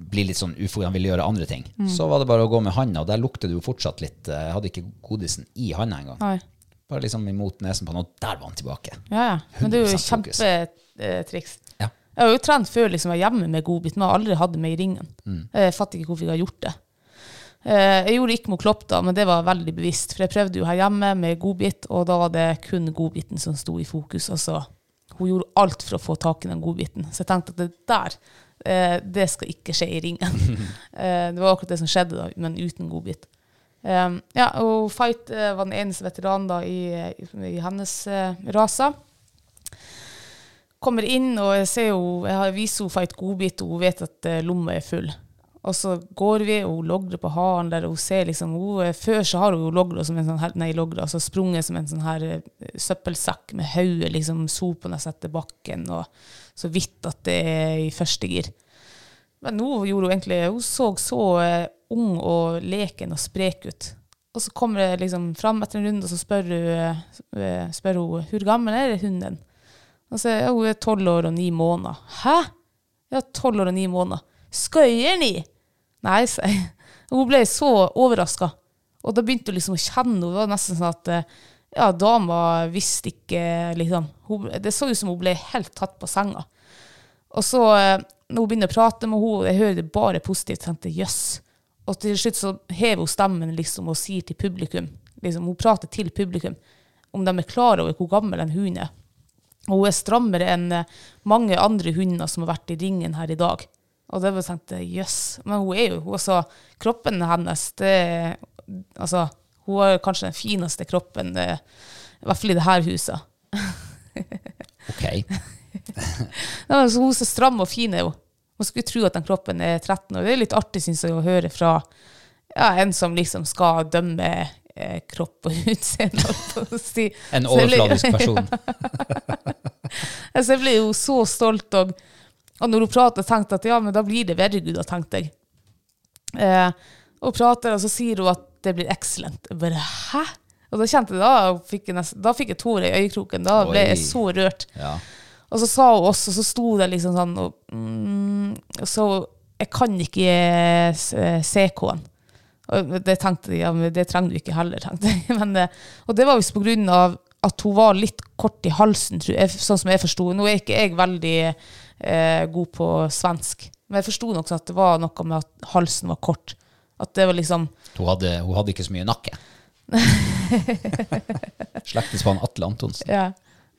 A: bli litt sånn ufo, han ville gjøre andre ting.
B: Mm.
A: Så var det bare å gå med handa, og der lukter det jo fortsatt litt. eh, Jeg hadde ikke godisen i handa engang.
B: Nei.
A: Bare liksom imot nesen på han, og der var han tilbake.
B: Ja, ja. Men det er jo
A: 100% fokus.
B: kjempetriks.
A: Ja.
B: Jeg har jo trent før liksom, jeg var hjemme med godbit, men jeg har aldri hatt det med i ringen.
A: Mm.
B: Jeg fatter ikke hvorfor jeg har gjort det. Eh, Jeg gjorde ikke mot klopp da, men det var veldig bevisst. For jeg prøvde jo her hjemme med godbit, og da var det kun godbiten som sto i fokus. Altså, hun gjorde alt for å få tak i den godbiten. Så jeg tenkte at det der, eh, det skal ikke skje i ringen. Eh, Det var akkurat det som skjedde da, men uten godbit. Eh, Ja, og Fight eh, var den eneste veteranen da i, i hennes eh, raser kommer inn, og jeg ser jo, jeg har- viser henne Fight godbit, og hun vet at eh, lomma er full. Og så går vi, og hun logrer på haren der, og hun ser liksom, hun, eh, før så har hun jo logret som en sånn her, nei, logret, altså sprunget som en sånn her eh, søppelsekk med hauet, liksom sopen har sett til bakken, og så vidt at det er i første gir. Men nå gjorde hun egentlig Hun så så eh, ung og leken og sprek ut. Og så kommer det liksom fram etter en runde, og så spør hun, eh, spør hun hvor gammel er hunden? Og så ja, hun er tolv år og ni måneder. Hæ? Ja, tolv år og ni måneder. Skøyer ni? Nei, sier jeg. Hun ble så overraska. Og da begynte hun liksom å kjenne henne. Det var nesten sånn at eh, ja, dama visste ikke, liksom. Hun, det så ut som hun ble helt tatt på senga. Og så, eh, når hun begynner å prate med henne, og jeg hører det bare positivt, tenkte jeg, jøss. Og til slutt så hever hun stemmen liksom, og sier til publikum, liksom, hun prater til publikum, om de er klar over hvor gammel en hund er. Og hun er strammere enn eh, mange andre hunder som har vært i ringen her i dag. Og det var tenkte jeg, jøss. Men hun er jo hun, altså, Kroppen hennes det, altså, Hun har kanskje den fineste kroppen, eh, i hvert fall i det her huset.
A: Ok.
B: Ja, altså, hun er så stram og fin er hun. Man skulle tro at den kroppen er 13 år. Det er litt artig synes jeg, å høre fra ja, en som liksom skal dømme eh, kropp og utseende. holdt på å si.
A: En
B: Så jeg ble-
A: overfladisk person.
B: Altså, jeg ble jo så stolt. Og, og når hun prater, tenkte jeg at ja, men da blir det verreguda, tenkte jeg. Eh, og prater, og så sier hun at det blir excellent. Jeg bare, hæ? Og da kjente jeg, da fikk jeg, nesten, da fikk jeg tårer i øyekroken. Da ble jeg
A: Oi.
B: så rørt.
A: Ja.
B: Og så sa hun også, så sto det liksom sånn og, mm, og Så jeg kan ikke eh, s- eh, CK-en. Og det tenkte jeg, ja, men det trenger du ikke heller, tenkte jeg. Men, eh, og det var visst på grunn av at hun var litt kort i halsen, tror jeg, sånn som jeg forsto. Nå er ikke jeg veldig eh, god på svensk, men jeg forsto nok at det var noe med at halsen var kort. At det var liksom
A: Hun hadde, hun hadde ikke så mye nakke. Slektes på han Atle Antonsen.
B: Ja.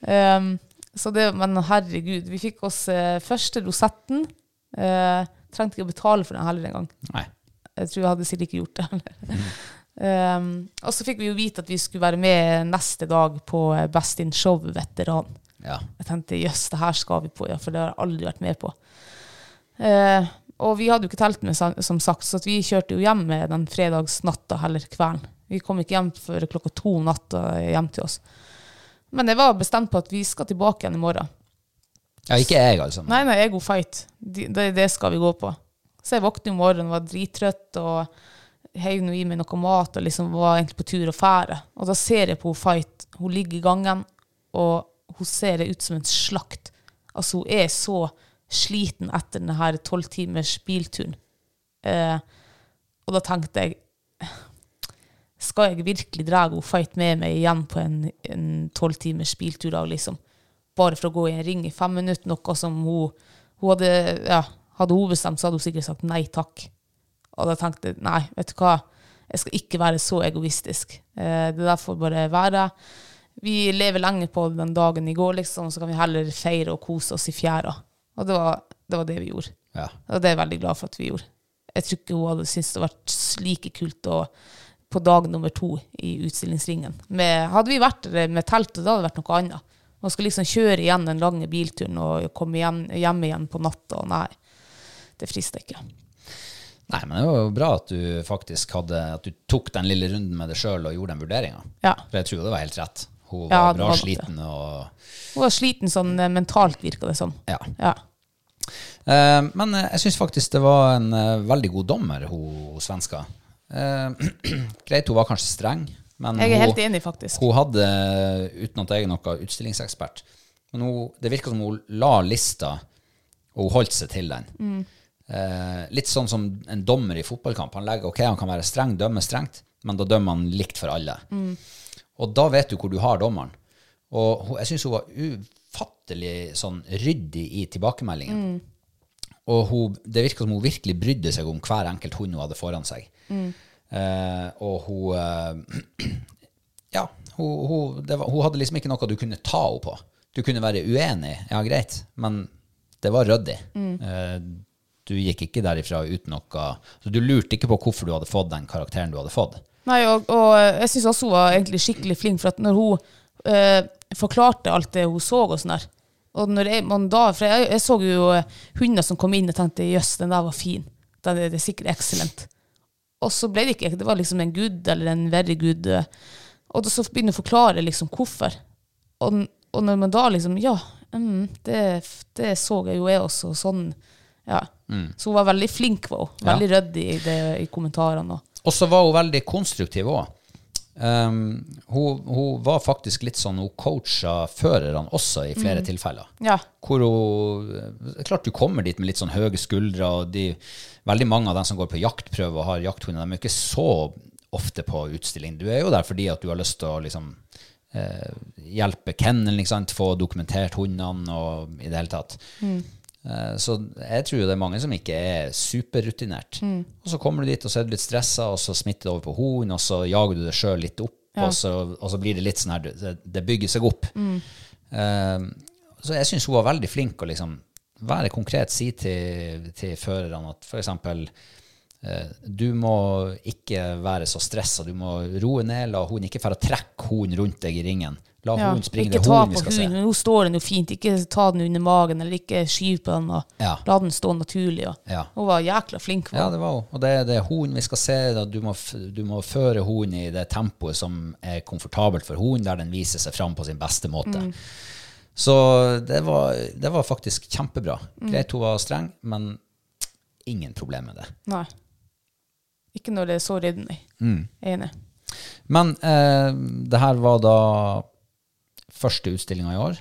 B: Ehm, så det, men herregud, vi fikk oss eh, første rosetten. Eh, trengte ikke å betale for den heller engang.
A: Nei.
B: Jeg tror jeg hadde sikkert ikke gjort det. heller. Ehm, og så fikk vi jo vite at vi skulle være med neste dag på eh, Best in Show-veteran.
A: Ja.
B: Jeg tenkte jøss, det her skal vi på, ja, for det har jeg aldri vært med på. Eh, og vi hadde jo ikke telt med, sa- som sagt, så at vi kjørte jo hjem med den fredagsnatta eller kvelden. Vi kom ikke hjem før klokka to om natta hjem til oss. Men jeg var bestemt på at vi skal tilbake igjen i morgen.
A: ja, ikke jeg, altså.
B: Nei, nei, ego fight. De- Det, det skal vi gå på. Så jeg våknet i morgen og var drittrøtt og heiv nå i meg noe mat og liksom var egentlig på tur og fære. Og da ser jeg på hun fight. Hun ligger i gangen, og hun ser ut som en slakt. Altså, hun er så sliten etter denne tolvtimers bilturen. Eh, og da tenkte jeg Skal jeg virkelig dra og fight med meg igjen på en, en 12 timers biltur av, liksom? Bare for å gå i en ring i fem minutter, noe som hun, hun hadde ja, Hadde hun bestemt, så hadde hun sikkert sagt nei takk. Og da tenkte jeg nei, vet du hva, jeg skal ikke være så egoistisk. Eh, det der får bare være. Vi lever lenge på den dagen i går, liksom, så kan vi heller feire og kose oss i fjæra. Og det var det, var det vi gjorde.
A: Ja.
B: Og det er jeg veldig glad for at vi gjorde. Jeg tror ikke hun hadde syntes det hadde vært like kult å, på dag nummer to i utstillingsringen. Med, hadde vi vært der med telt, da hadde det vært noe annet. Man skal liksom kjøre igjen den lange bilturen og komme hjem, hjem igjen på natta. og Nei, det frister ikke.
A: Nei, men det var jo bra at du faktisk hadde, at du tok den lille runden med deg sjøl og gjorde den vurderinga.
B: Ja.
A: For jeg tror det var helt rett. Hun var
B: Ja, det
A: bra
B: var det.
A: sliten og
B: Hun var sliten sånn eh, mentalt, virka det som.
A: Ja.
B: Ja.
A: Eh, men eh, jeg syns faktisk det var en eh, veldig god dommer, hun svenska. Eh, greit, hun var kanskje streng, men
B: Jeg er
A: hun,
B: helt enig, faktisk.
A: hun hadde, uten at jeg er noen utstillingsekspert Men hun, det virka som hun la lista, og hun holdt seg til den. Eh, litt sånn som en dommer i fotballkamp. Han legger, ok, han kan være streng, dømme strengt, men da dømmer han likt for alle. Og da vet du hvor du har dommeren. Og hun, jeg syns hun var ufattelig sånn ryddig i tilbakemeldingen. Og hun, det virka som hun virkelig brydde seg om hver enkelt hund hun hadde foran seg. Eh, og hun eh, Ja, hun, hun, det var, hun hadde liksom ikke noe du kunne ta henne på. Du kunne være uenig, ja greit, men det var ryddig. Eh, du gikk ikke derifra uten noe Så du lurte ikke på hvorfor du hadde fått den karakteren du hadde fått.
B: Nei, og, og jeg syns også hun var egentlig skikkelig flink, for at når hun eh, forklarte alt det hun så og sånn der og når jeg, man da, for jeg, jeg så jo eh, hunder som kom inn og tenkte jøss, den der var fin. Den er, det er sikkert excellent. Og så ble det ikke Det var liksom en good eller en very good. eh, Og da så begynner hun å forklare liksom hvorfor. Og, n- og når man da liksom Ja, mm, det, det så jeg jo jeg også, sånn. Ja. Så hun var veldig flink, var hun.
A: Ja.
B: Veldig ryddig i, det- i kommentarene. og-
A: Og så var hun veldig konstruktiv òg. hun, hun var faktisk litt sånn Hun coacha førerne også i flere tilfeller.
B: Ja.
A: Hvor hun, det er klart du kommer dit med litt sånn høye skuldre, og de, veldig mange av dem som går på jaktprøve og har jakthunder, de er jo ikke så ofte på utstilling. Du er jo der fordi at du har lyst til å liksom, eh, hjelpe kennelen, ikke sant? få dokumentert hundene og i det hele tatt. Eh, Så jeg tror jo det er mange som ikke er superrutinert. Og så kommer du dit, og så er du litt stressa, og så smitter det over på hunden, og så jager du det sjøl litt opp, og, så, og så blir det litt sånn her Det, det bygger seg opp. Eh, så jeg syns hun var veldig flink å liksom være konkret, si til, til førerne at f.eks. Eh, du må ikke være så stressa, du må roe ned, la hunden ikke fære og trekke hunden rundt deg i ringen. La
B: Ja,
A: hunden springe, det
B: ikke
A: er
B: ta
A: hunden vi
B: på
A: skal
B: hunden,
A: se.
B: men nå står den jo fint. Ikke ta den under magen, eller ikke skyv på den. Og
A: Ja.
B: La den stå naturlig. Og.
A: Ja.
B: Hun var jækla flink.
A: Ja,
B: Ja,
A: det var hun. Og det, det er hunden vi skal se, da du må, f- du må føre hunden i det tempoet som er komfortabelt for hunden, der den viser seg fram på sin beste måte. Så det var, det var faktisk kjempebra. Greit, hun var streng, men ingen problem med det.
B: Nei. Ikke når det er så ryddende.
A: Mm.
B: Enig.
A: Men eh, det her var da første utstillinga i år.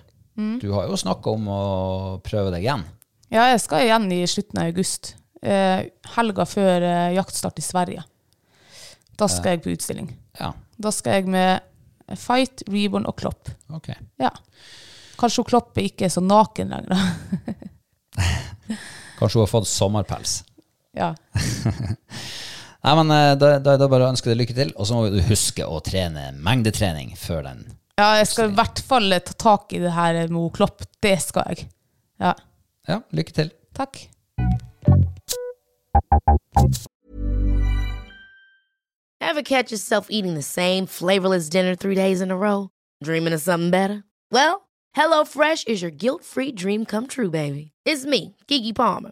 A: Du har jo snakka om å prøve deg igjen.
B: Ja, jeg skal igjen i slutten av august. Eh, helga før eh, jaktstart i Sverige. Da skal jeg på utstilling.
A: Ja,
B: Da skal jeg med Fight, Reborn og Klopp.
A: ok.
B: Ja. Kanskje hun Klopp ikke er så naken lenger, da.
A: Kanskje hun har fått sommerpels.
B: ja.
A: Nei, men eh, da, da, da bare ønsker jeg deg lykke til, og så må du huske å trene mengdetrening før den.
B: Ja, jeg skal i hvert fall eh, ta tak i det her eh, med hun Klopp. Det skal jeg. Ja.
A: Ja, lykke til.
B: Takk.
C: Ever catch yourself eating the same flavorless dinner three days in a row? Dreaming of something better? Well, HelloFresh is your guilt free dream come true, baby. It's me, Gigi Palmer.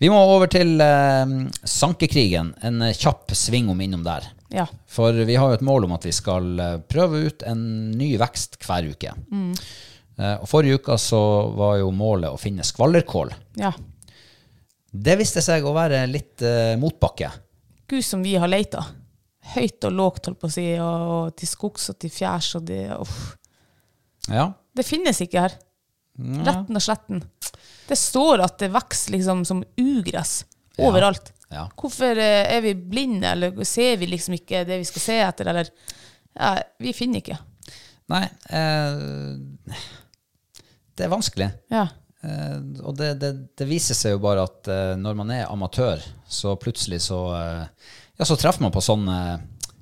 A: Vi må over til eh, sankekrigen. En eh, kjapp sving om innom der.
B: Ja.
A: For vi har jo et mål om at vi skal eh, prøve ut en ny vekst hver uke. Eh, og forrige uke så var jo målet å finne skvallerkål.
B: ja.
A: Det viste seg å være litt eh, motbakke.
B: Gud som vi har leita. Høyt og lågt, holdt på å si, og til skogs og til fjærs og det uff.
A: Ja.
B: Det finnes ikke her. Retten og sletten. Det står at det vokser liksom som ugress overalt.
A: Ja.
B: Hvorfor eh, er vi blinde, eller ser vi liksom ikke det vi skal se etter, eller ja, Vi finner ikke.
A: Nei, eh, det er vanskelig.
B: Ja.
A: Eh, og det, det, det viser seg jo bare at eh, når man er amatør, så plutselig så eh, Ja, så treffer man på sånne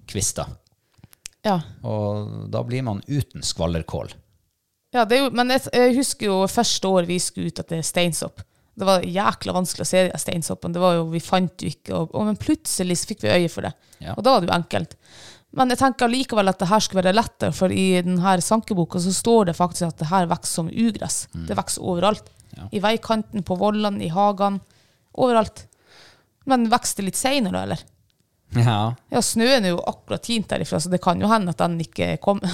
A: kvister.
B: ja.
A: Og da blir man uten skvallerkål.
B: Ja, det er jo, men jeg, jeg husker jo første år vi skulle ut etter steinsopp. Det var jækla vanskelig å se de steinsoppene. Det var jo, vi fant jo ikke, og, og, men plutselig så fikk vi øye for det.
A: Ja.
B: Og da var det jo enkelt. Men jeg tenker likevel at det her skulle være lettere, for i denne sankeboka så står det faktisk at det her vokser som ugress. Det vokser overalt. I veikanten, på vollene, i hagene. Overalt. Men vokser det litt seinere, da, eller?
A: Ja.
B: Ja, snøen er jo akkurat tint derifra, så det kan jo hende at den ikke kom.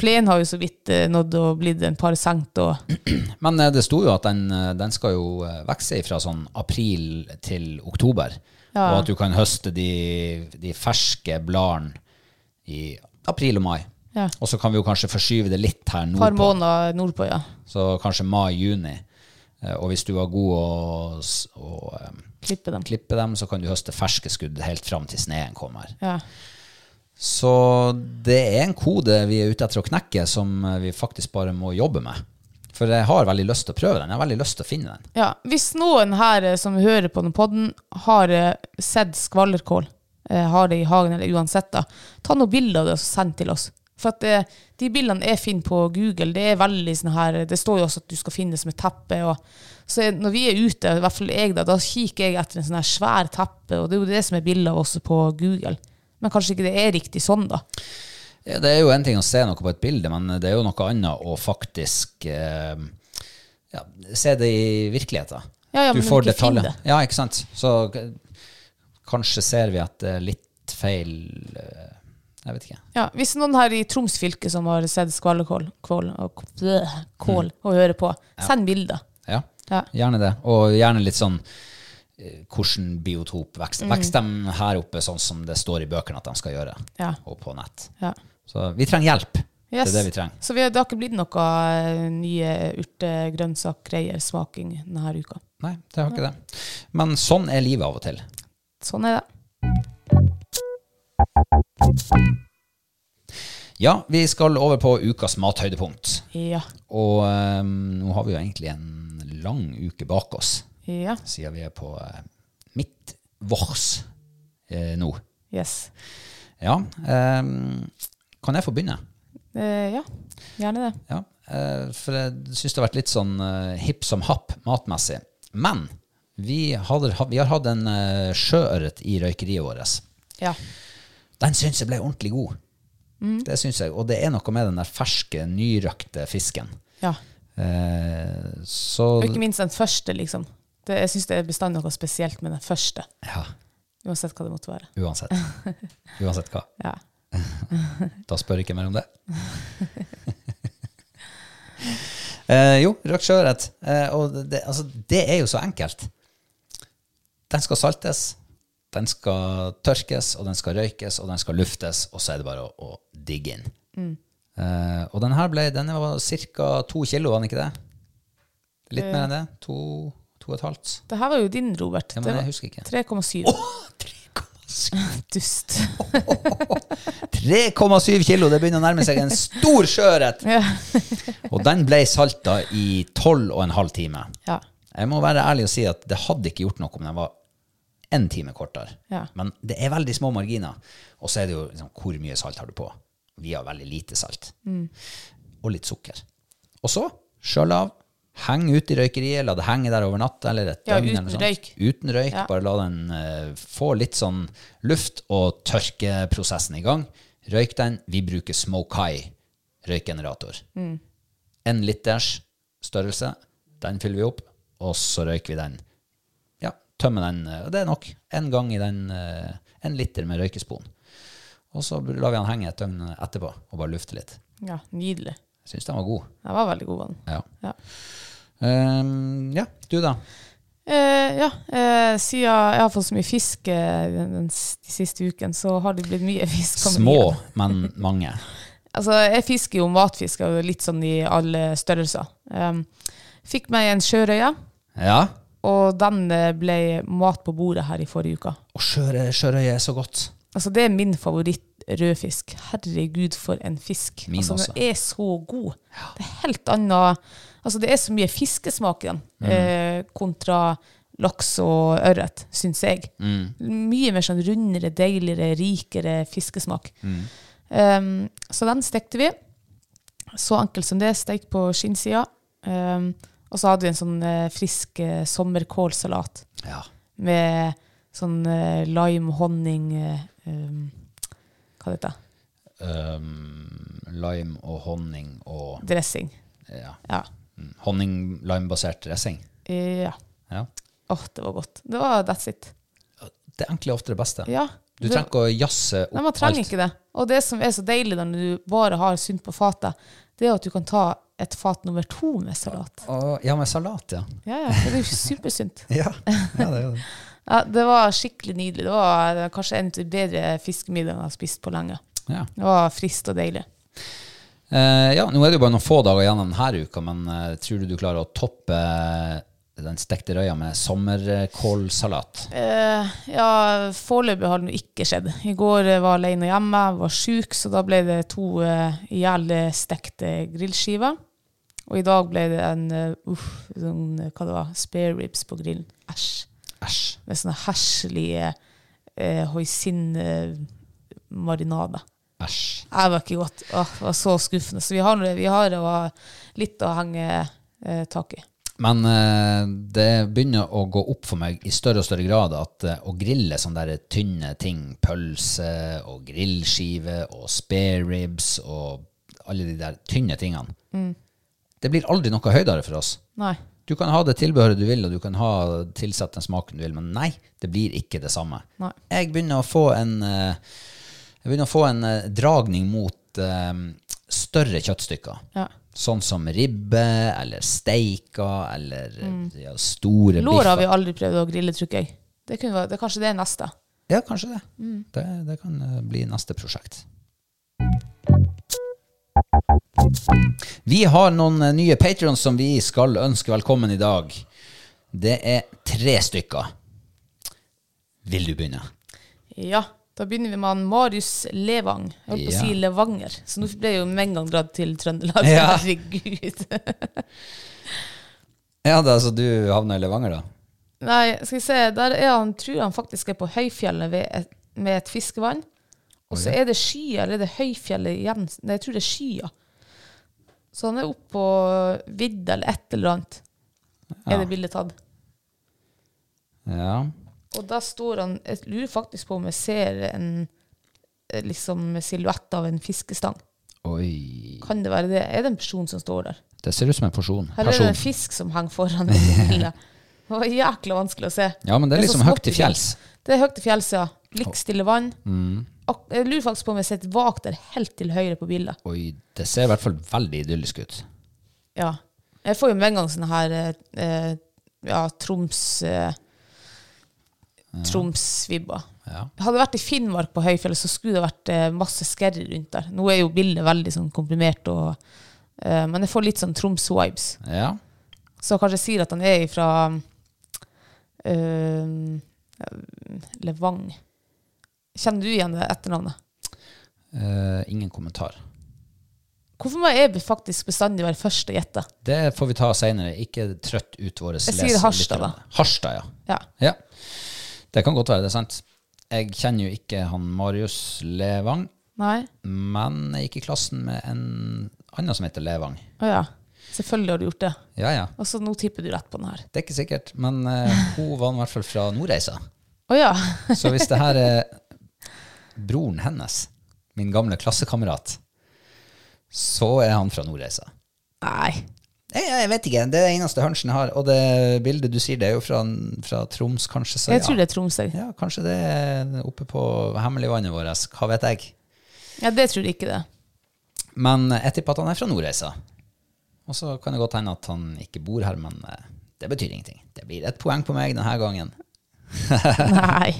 B: Plenen har jo så vidt eh, nådd og blitt en par senkt og
A: Men eh, det sto jo at den, eh, den skal jo eh, vokse fra sånn april til oktober.
B: Ja.
A: Og at du kan høste de, de ferske bladene i april og mai.
B: Ja.
A: Og så kan vi jo kanskje forskyve det litt her
B: et par
A: nordpå.
B: måneder nordpå, ja.
A: Så kanskje mai-juni. Eh, Og hvis du var god å, s- å eh,
B: Klippe dem.
A: klippe dem, så kan du høste ferske skudd helt fram til sneen kommer.
B: Ja.
A: Så det er en kode vi er ute etter å knekke, som eh, vi faktisk bare må jobbe med. For jeg har veldig lyst til å prøve den. Jeg har veldig lyst til å finne den.
B: ja. Hvis noen her eh, som hører på den podden, har eh, sett skvallerkål, eh, har det i hagen eller uansett, da, ta noen bilder av det og send til oss. For at eh, de bildene jeg finner på Google, det er veldig sånn her Det står jo også at du skal finne det som et teppe. Og, så jeg- når vi er ute, i hvert fall jeg, da, da kikker jeg etter en sånn her svær teppe, og det er jo det som er bildet av oss på Google. Men kanskje ikke det er riktig sånn, da.
A: Ja, det er jo en ting å se noe på et bilde, men det er jo noe annet å faktisk eh, ja, se det i virkeligheten.
B: Ja, ja,
A: du
B: men
A: får
B: ikke finn
A: detaljer.
B: det.
A: Ja, ikke sant. Så eh, kanskje ser vi at det er litt feil eh, Jeg vet ikke.
B: Ja, Hvis noen her i Troms fylke som har sett skvallerkål kål, og, k- bleh, kål, og hører på, send bilder.
A: Ja,
B: Ja.
A: gjerne det. Og gjerne litt sånn eh, hvordan biotop vokser.
B: Mm.
A: Vokser de her oppe sånn som det står i bøkene at de skal gjøre,
B: Ja.
A: og på nett.
B: Ja.
A: Så vi trenger hjelp. Det
B: Yes.
A: er det vi trenger.
B: Så vi, har- det har ikke blitt noe eh, nye urtegrønnsakgreier-smaking denne uka.
A: Nei, det har ikke det. Men sånn er livet av og til.
B: Sånn er det.
A: Ja, vi skal over på ukas mathøydepunkt.
B: Ja.
A: Og eh, nå har vi jo egentlig en lang uke bak oss,
B: Ja.
A: siden vi er på eh, midt vårs eh, nå.
B: Yes.
A: Ja, eh, kan jeg få begynne?
B: Eh, ja. Gjerne det.
A: Ja, eh, for jeg syns det har vært litt sånn eh, hipp som happ matmessig. Men vi, hadde, ha- vi har hatt en eh, sjøørret i røykeriet vårt.
B: Ja.
A: Den syns jeg ble ordentlig god. Det syns jeg. Og det er noe med den der ferske, nyrøkte fisken.
B: ja.
A: Eh, så
B: Og ikke minst den første, liksom. Det, jeg syns det er bestandig noe spesielt med den første.
A: Ja,
B: Uansett hva det måtte være.
A: uansett. Uansett hva.
B: Ja.
A: Da spør jeg ikke mer om det. eh, jo, røkt sjøørret. Eh, og det, altså, det er jo så enkelt. Den skal saltes, den skal tørkes, og den skal røykes, og den skal luftes, og så er det bare å, å digge inn.
B: Mm.
A: Eh, og den her ble, den var ca. to kilo, var den ikke det? Litt
B: Eh.
A: mer enn det? To, to og et halvt?
B: Det her var jo din, Robert.
A: Ja, men
B: det
A: jeg
B: var
A: husker ikke.
B: 3,7.
A: 3,7
B: Dust.
A: 3,7 kilo! Det begynner å nærme seg en stor sjøørret!
B: ja.
A: Og den ble salta i 12 og en halv time.
B: ja.
A: Jeg må være ærlig og si at det hadde ikke gjort noe om den var én time kortere.
B: Ja.
A: Men det er veldig små marginer. Og så er det jo liksom, hvor mye salt har du på? Vi har veldig lite salt. Og litt sukker. Og så skjøll av, Heng ut i røykeriet, la det henge der over natta eller et
B: Ja,
A: døgn.
B: uten
A: eller noe sånt.
B: røyk.
A: Uten røyk.
B: Ja.
A: Bare la den eh, få litt sånn luft og tørke prosessen i gang. Røyk den. Vi bruker Smoke High røykgenerator.
B: Mm.
A: En liters størrelse. Den fyller vi opp, og så røyker vi den. Ja, tømmer den, eh, og det er nok. En gang i den, eh, en liter med røykespon. Og så lar vi den henge et døgn etterpå og bare lufte litt.
B: Ja, nydelig.
A: Jeg syns den var god.
B: Den var veldig god, den.
A: Ja.
B: Ja.
A: Ehm, ja, du da?
B: Eh, ja, eh, siden jeg har fått så mye fisk eh, den, den, s- de siste ukene, så har det blitt mye fisk. om
A: Små,
B: igjen.
A: men mange.
B: Altså, jeg fisker jo matfisk, og litt sånn i alle størrelser. Em, fikk meg en sjørøye,
A: Ja.
B: og den eh, ble mat på bordet her i forrige uke.
A: Og sjørøye er så godt.
B: Altså, det er min favoritt rødfisk. Herregud, for en fisk.
A: Min
B: altså,
A: også.
B: Den er så god. Det er helt annet Altså, det er så mye fiskesmak i den,
A: Mm.
B: eh, kontra laks og ørret, syns jeg.
A: Mm,
B: Mye mer sånn rundere, deiligere, rikere fiskesmak.
A: mm.
B: Um, så den stekte vi. Så enkelt som det. Stekt på skinnsida. Um, og så hadde vi en sånn eh, frisk eh, sommerkålsalat
A: Ja.
B: med sånn eh, lime, honning eh, um, Hva heter det?
A: Ehm, lime og honning og
B: Dressing.
A: ja.
B: Ja.
A: Mm, Honning-limebasert dressing.
B: Eh, ja.
A: Ja.
B: Åh, det var godt. Det var that's it.
A: Det er egentlig ofte det beste.
B: Ja.
A: Du
B: det-
A: trenger ikke å jazze
B: Nei,
A: opp
B: man
A: alt.
B: trenger ikke det. Og det som er så deilig når du bare har sunt på fatet, det er at du kan ta et fat nummer to med salat.
A: Å, ja, med salat, ja.
B: Ja, ja. Det er jo supersunt.
A: Ja, det er jo det.
B: Ja, det var skikkelig nydelig. Det var eh, kanskje en av de bedre fiskemiddagene jeg har spist på lenge.
A: Ja.
B: Det var frist og deilig.
A: Eh, ja, nå er det jo bare noen få dager igjen denne uka, men eh, tror du du klarer å toppe eh, den stekte røya med sommerkålsalat?
B: Eh, ja, foreløpig har det nå ikke skjedd. I går eh, var jeg alene hjemme, jeg var syk, så da ble det to uh, ihjelstekte grillskiver. Og i dag ble det en eh, uff, sånn, eh, hva det var, spare ribs på grillen. Æsj.
A: Æsj.
B: Med sånne heslige uh, eh, hoisin-marinade.
A: Æsj.
B: Det var ikke godt. Åh, det var så skuffende. Så vi har, nå- vi har eh, litt å henge eh, tak i.
A: Men eh, det begynner å gå opp for meg i større og større grad at eh, å grille sånne der tynne ting, pølse og grillskive og spare ribs og alle de der tynne tingene, det blir aldri noe høydere for oss.
B: Nei.
A: Du kan ha det tilbehøret du vil, og du kan ha tilsette den smaken du vil, men nei, det blir ikke det samme.
B: Nei.
A: Jeg begynner å få en, eh, jeg begynner å få en eh, dragning mot eh, større kjøttstykker.
B: Ja.
A: Sånn som ribbe, eller steiker, eller eh, ja, store
B: Mm. Lår har vi
A: biffer.
B: aldri prøvd å grille, tror jeg. Det, kunne, være- det er kanskje det neste.
A: Ja, kanskje det.
B: Mm.
A: det. Det kan eh, bli neste prosjekt. Vi har noen eh, nye patrions som vi skal ønske velkommen i dag. Det er tre stykker. Vil du begynne?
B: Ja, da begynner vi med han Marius Levang. Jeg holdt på
A: Ja.
B: å si Levanger, så nå ble jeg jo med en gang dratt til Trøndelag.
A: Ja.
B: Herregud.
A: Ja, da, så du havner i Levanger, da?
B: Nei, skal vi se, der er han, tror han faktisk er på høyfjellet ved et, med et fiskevann. Og så er det skyer, eller er det høyfjellet igjen? Nei, jeg tror det er skyer. Så han er oppe på vidda eller et eller annet,
A: Ja.
B: er det bildet tatt.
A: Ja.
B: Og da står han Jeg lurer faktisk på om jeg ser en eh, liksom silhuett av en fiskestang.
A: Oi.
B: Kan det være det? Er det en person som står der?
A: Det ser ut som en porsjon.
B: Her er det
A: Person.
B: en fisk som henger foran en bilde. Det var jækla vanskelig å se.
A: Ja, men det er
B: så
A: liksom høyt
B: smått
A: til fjells. Mm.
B: Det er høyt til fjells, ja. Blikkstille vann. Ak- Jeg lurer faktisk på om jeg sitter vagt der helt til høyre på bildet.
A: Oi, det ser i hvert fall veldig idyllisk ut.
B: Ja. Jeg får jo med en gang sånn her eh, eh, ja, Troms eh, Troms-vibber.
A: Ja.
B: Hadde jeg vært i Finnmark på høyfjellet, så skulle det vært eh, masse skerrer rundt der. Nå er jo bildet veldig sånn komprimert, og, eh, men jeg får litt sånn Troms-vibes.
A: Ja.
B: Så kanskje jeg sier at han er fra Levang. Kjenner du igjen det etternavnet?
A: Eh, ingen kommentar.
B: Hvorfor må jeg faktisk bestandig være først og gjette?
A: Det får vi ta seinere. Ikke trøtt ut våre
B: Jeg sier Harstad, da.
A: Harstad, ja.
B: Ja.
A: ja. Det kan godt være, det er sant. Jeg kjenner jo ikke han Marius Levang,
B: Nei?
A: men jeg gikk i klassen med en annen som heter Levang.
B: Å ja. Selvfølgelig har du gjort det.
A: Ja, ja.
B: Altså, nå tipper du rett på den her.
A: Det er ikke sikkert, men eh, hun var i hvert fall fra Nordreisa.
B: Å ja.
A: Så hvis det her er broren hennes, min gamle klassekamerat, så er han fra Nordreisa.
B: Nei.
A: Jeg, jeg vet ikke, det er det eneste hunchen jeg har. Og det bildet du sier, det er jo fra, fra Troms, kanskje. Så,
B: Jeg tror
A: ja.
B: det er Tromsø.
A: Ja, kanskje det er oppe på hemmeligvannet vårt. Hva vet jeg?
B: Ja, det tror jeg ikke det.
A: Men jeg tipper at han er fra Nordreisa. Og så kan det godt hende at han ikke bor her, men eh, det betyr ingenting. Det blir et poeng på meg denne gangen.
B: Nei.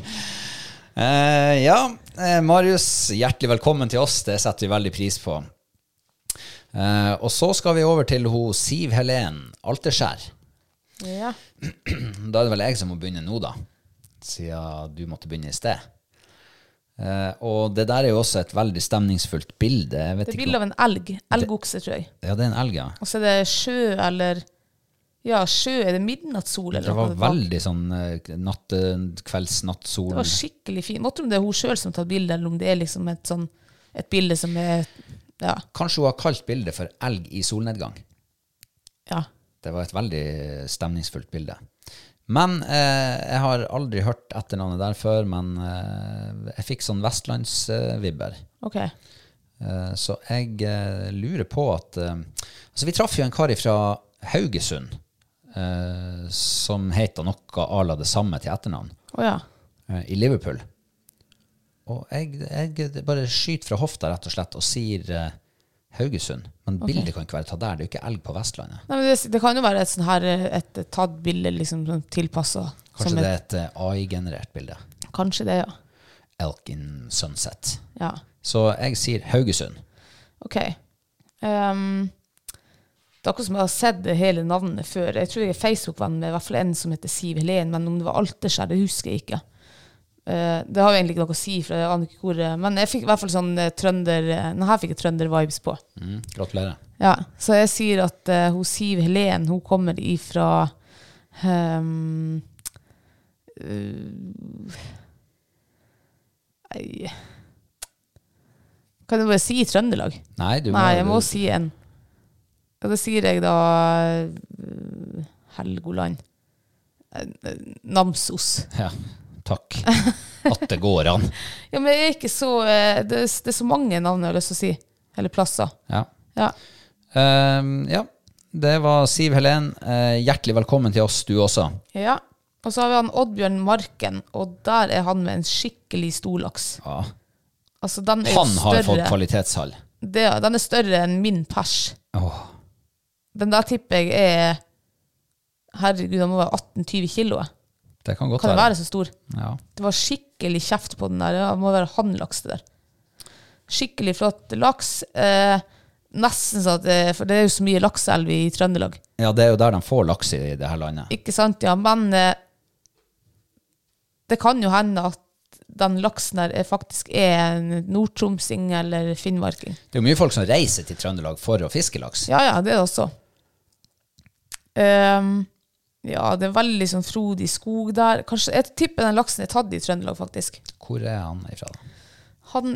A: Eh, ja, eh, Marius, hjertelig velkommen til oss. Det setter vi veldig pris på. Eh, og så skal vi over til ho Siv Helen Alteskjær.
B: Ja.
A: Da er det vel jeg som må begynne nå, da. Siden du måtte begynne i sted. Eh, og det der er jo også et veldig stemningsfullt bilde. Jeg vet
B: Det er
A: ikke
B: bilde av en elg. Elgokse, tror jeg.
A: om- Ja, det er en elg, ja.
B: Og så er det sjø, eller Ja, sjø. Er det midnattssol, eller
A: Det var
B: noe? var-
A: veldig sånn eh, natt, kvelds, nattsol.
B: Det var skikkelig fint. Måtte om det er hun sjøl som har tatt bildet, eller om det er liksom et sånn et bilde som er Ja.
A: Kanskje hun har kalt bildet for 'Elg i solnedgang'.
B: ja.
A: Det var et veldig stemningsfullt bilde. Men eh, jeg har aldri hørt etternavnet der før, men eh, jeg fikk sånn vestlandsvibber.
B: Ok.
A: Eh, så jeg eh, lurer på at eh, Altså, vi traff jo en kar fra Haugesund eh, som heter noe à la det samme til etternavn,
B: Å ja.
A: eh, i Liverpool. Og jeg, jeg bare skyter fra hofta, rett og slett, og sier eh, Haugesund. Men bildet kan ikke være tatt der. Det er jo ikke elg på Vestlandet.
B: Nei, men det, det kan jo være et sånn her eh, et tatt bilde, liksom sånn tilpassa.
A: Kanskje det er et eh, AI-generert bilde.
B: Kanskje det, ja.
A: Elk in Sunset.
B: ja.
A: Så jeg sier Haugesund.
B: Ok. Ehm, det er akkurat som jeg har sett det hele navnet før. Jeg tror jeg er Facebook-venn med i hvert fall en som heter Siv Helen, men om det var Alterskjær, det husker jeg ikke. Eh, det har jo egentlig ikke noe å si, for jeg aner ikke hvor eh, Men jeg fikk i hvert fall sånn eh, trønder Denne her fikk jeg trønder-vibes på.
A: Gratulerer.
B: Ja, Så jeg sier at eh, hun Siv Helen hun kommer ifra ehm, øh, Nei Kan du bare si Trøndelag?
A: Nei, du
B: Nei, jeg må si en. Ja, da sier jeg da øh, Helgoland. Eh, eh, Namsos.
A: Ja, takk. At det går an.
B: Ja, men jeg er ikke så eh, Det, er- det er så mange navn jeg har lyst til å si. Eller plasser.
A: Ja.
B: Ja.
A: Ehm, ja. Det var Siv Helen. Eh, hjertelig velkommen til oss, du også.
B: ja. Og så har vi han Oddbjørn Marken, og der er han med en skikkelig stor laks.
A: Ja.
B: Altså, den er jo
A: Han har fått
B: større-
A: kvalitetshall.
B: det, Den er større enn min pers.
A: Åh.
B: Den der tipper jeg er Herregud, den må være 18-20 kilo.
A: det kan godt
B: Kan den
A: være.
B: være så stor?
A: Ja.
B: Det var skikkelig kjeft på den der. Det må være hannlaks, det der. Skikkelig flott laks. Eh, nesten sånn at det, For det er jo så mye lakseelv i Trøndelag.
A: ja, det er jo der de får laks i det her landet.
B: Ikke sant, ja. Men eh, det kan jo hende at den laksen der er faktisk er en nordtromsing eller finnmarking.
A: Det er jo mye folk som reiser til Trøndelag for å fiske laks.
B: Ja, ja, det er det også. Ehm, ja, det er veldig sånn frodig skog der. Kanskje, Jeg tipper den laksen er tatt i Trøndelag, faktisk.
A: Hvor er han ifra, da?
B: Han,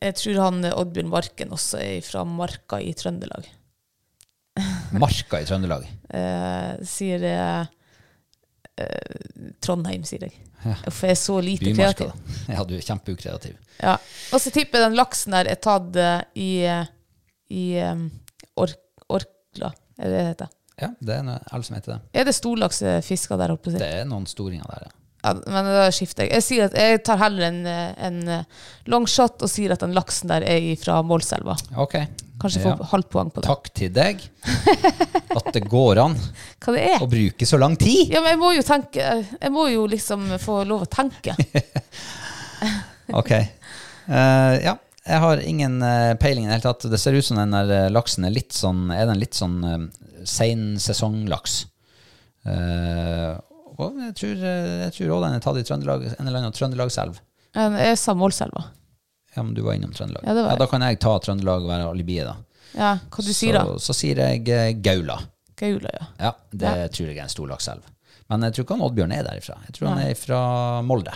B: jeg tror han eh, Oddbjørn Marken også er fra Marka i Trøndelag.
A: Marka i Trøndelag.
B: Eh, sier eh, eh, Trondheim, sier jeg. For jeg er så lite
A: Bymarka.
B: kreativ.
A: da. Ja, du er kjempeukreativ.
B: Ja. Og så tipper jeg den laksen der er tatt eh, i, eh, i eh, ork, Orkla, er det det heter?
A: Ja, det er noe- alle som heter det.
B: Er det storlaksefisker der oppe?
A: Det er noen storinger der, ja.
B: Ja, men da skifter jeg. Jeg, sier at jeg tar heller en, eh, en eh, long shot og sier at den laksen der er fra Målselva.
A: Ok.
B: Kanskje
A: ja.
B: får halvt poeng på det.
A: Takk til deg at det går an
B: Hva det er?
A: å bruke så lang tid.
B: Ja, men jeg må jo tenke Jeg må jo liksom få lov å tenke.
A: Ok. Eh, ja, jeg har ingen eh, peiling i det hele tatt. Det ser ut som den der eh, laksen er litt sånn Er den litt sånn uh, sein sesonglaks? Eh, og jeg tror, eh, jeg tror også den er tatt i Trøndelag, en eller annen Trøndelagselv.
B: Men Jeg sa Målselva.
A: Ja, men du var innom Trøndelag.
B: Ja, det var jeg.
A: da kan jeg ta Trøndelag og være alibiet, da.
B: Ja, hva du sier da?
A: så, så sier jeg eh, Gaula.
B: Gaula, ja.
A: Ja, det
B: Ja.
A: tror jeg er en stor lakseelv. Men jeg tror ikke han Oddbjørn er derifra. Jeg tror han er fra Molde.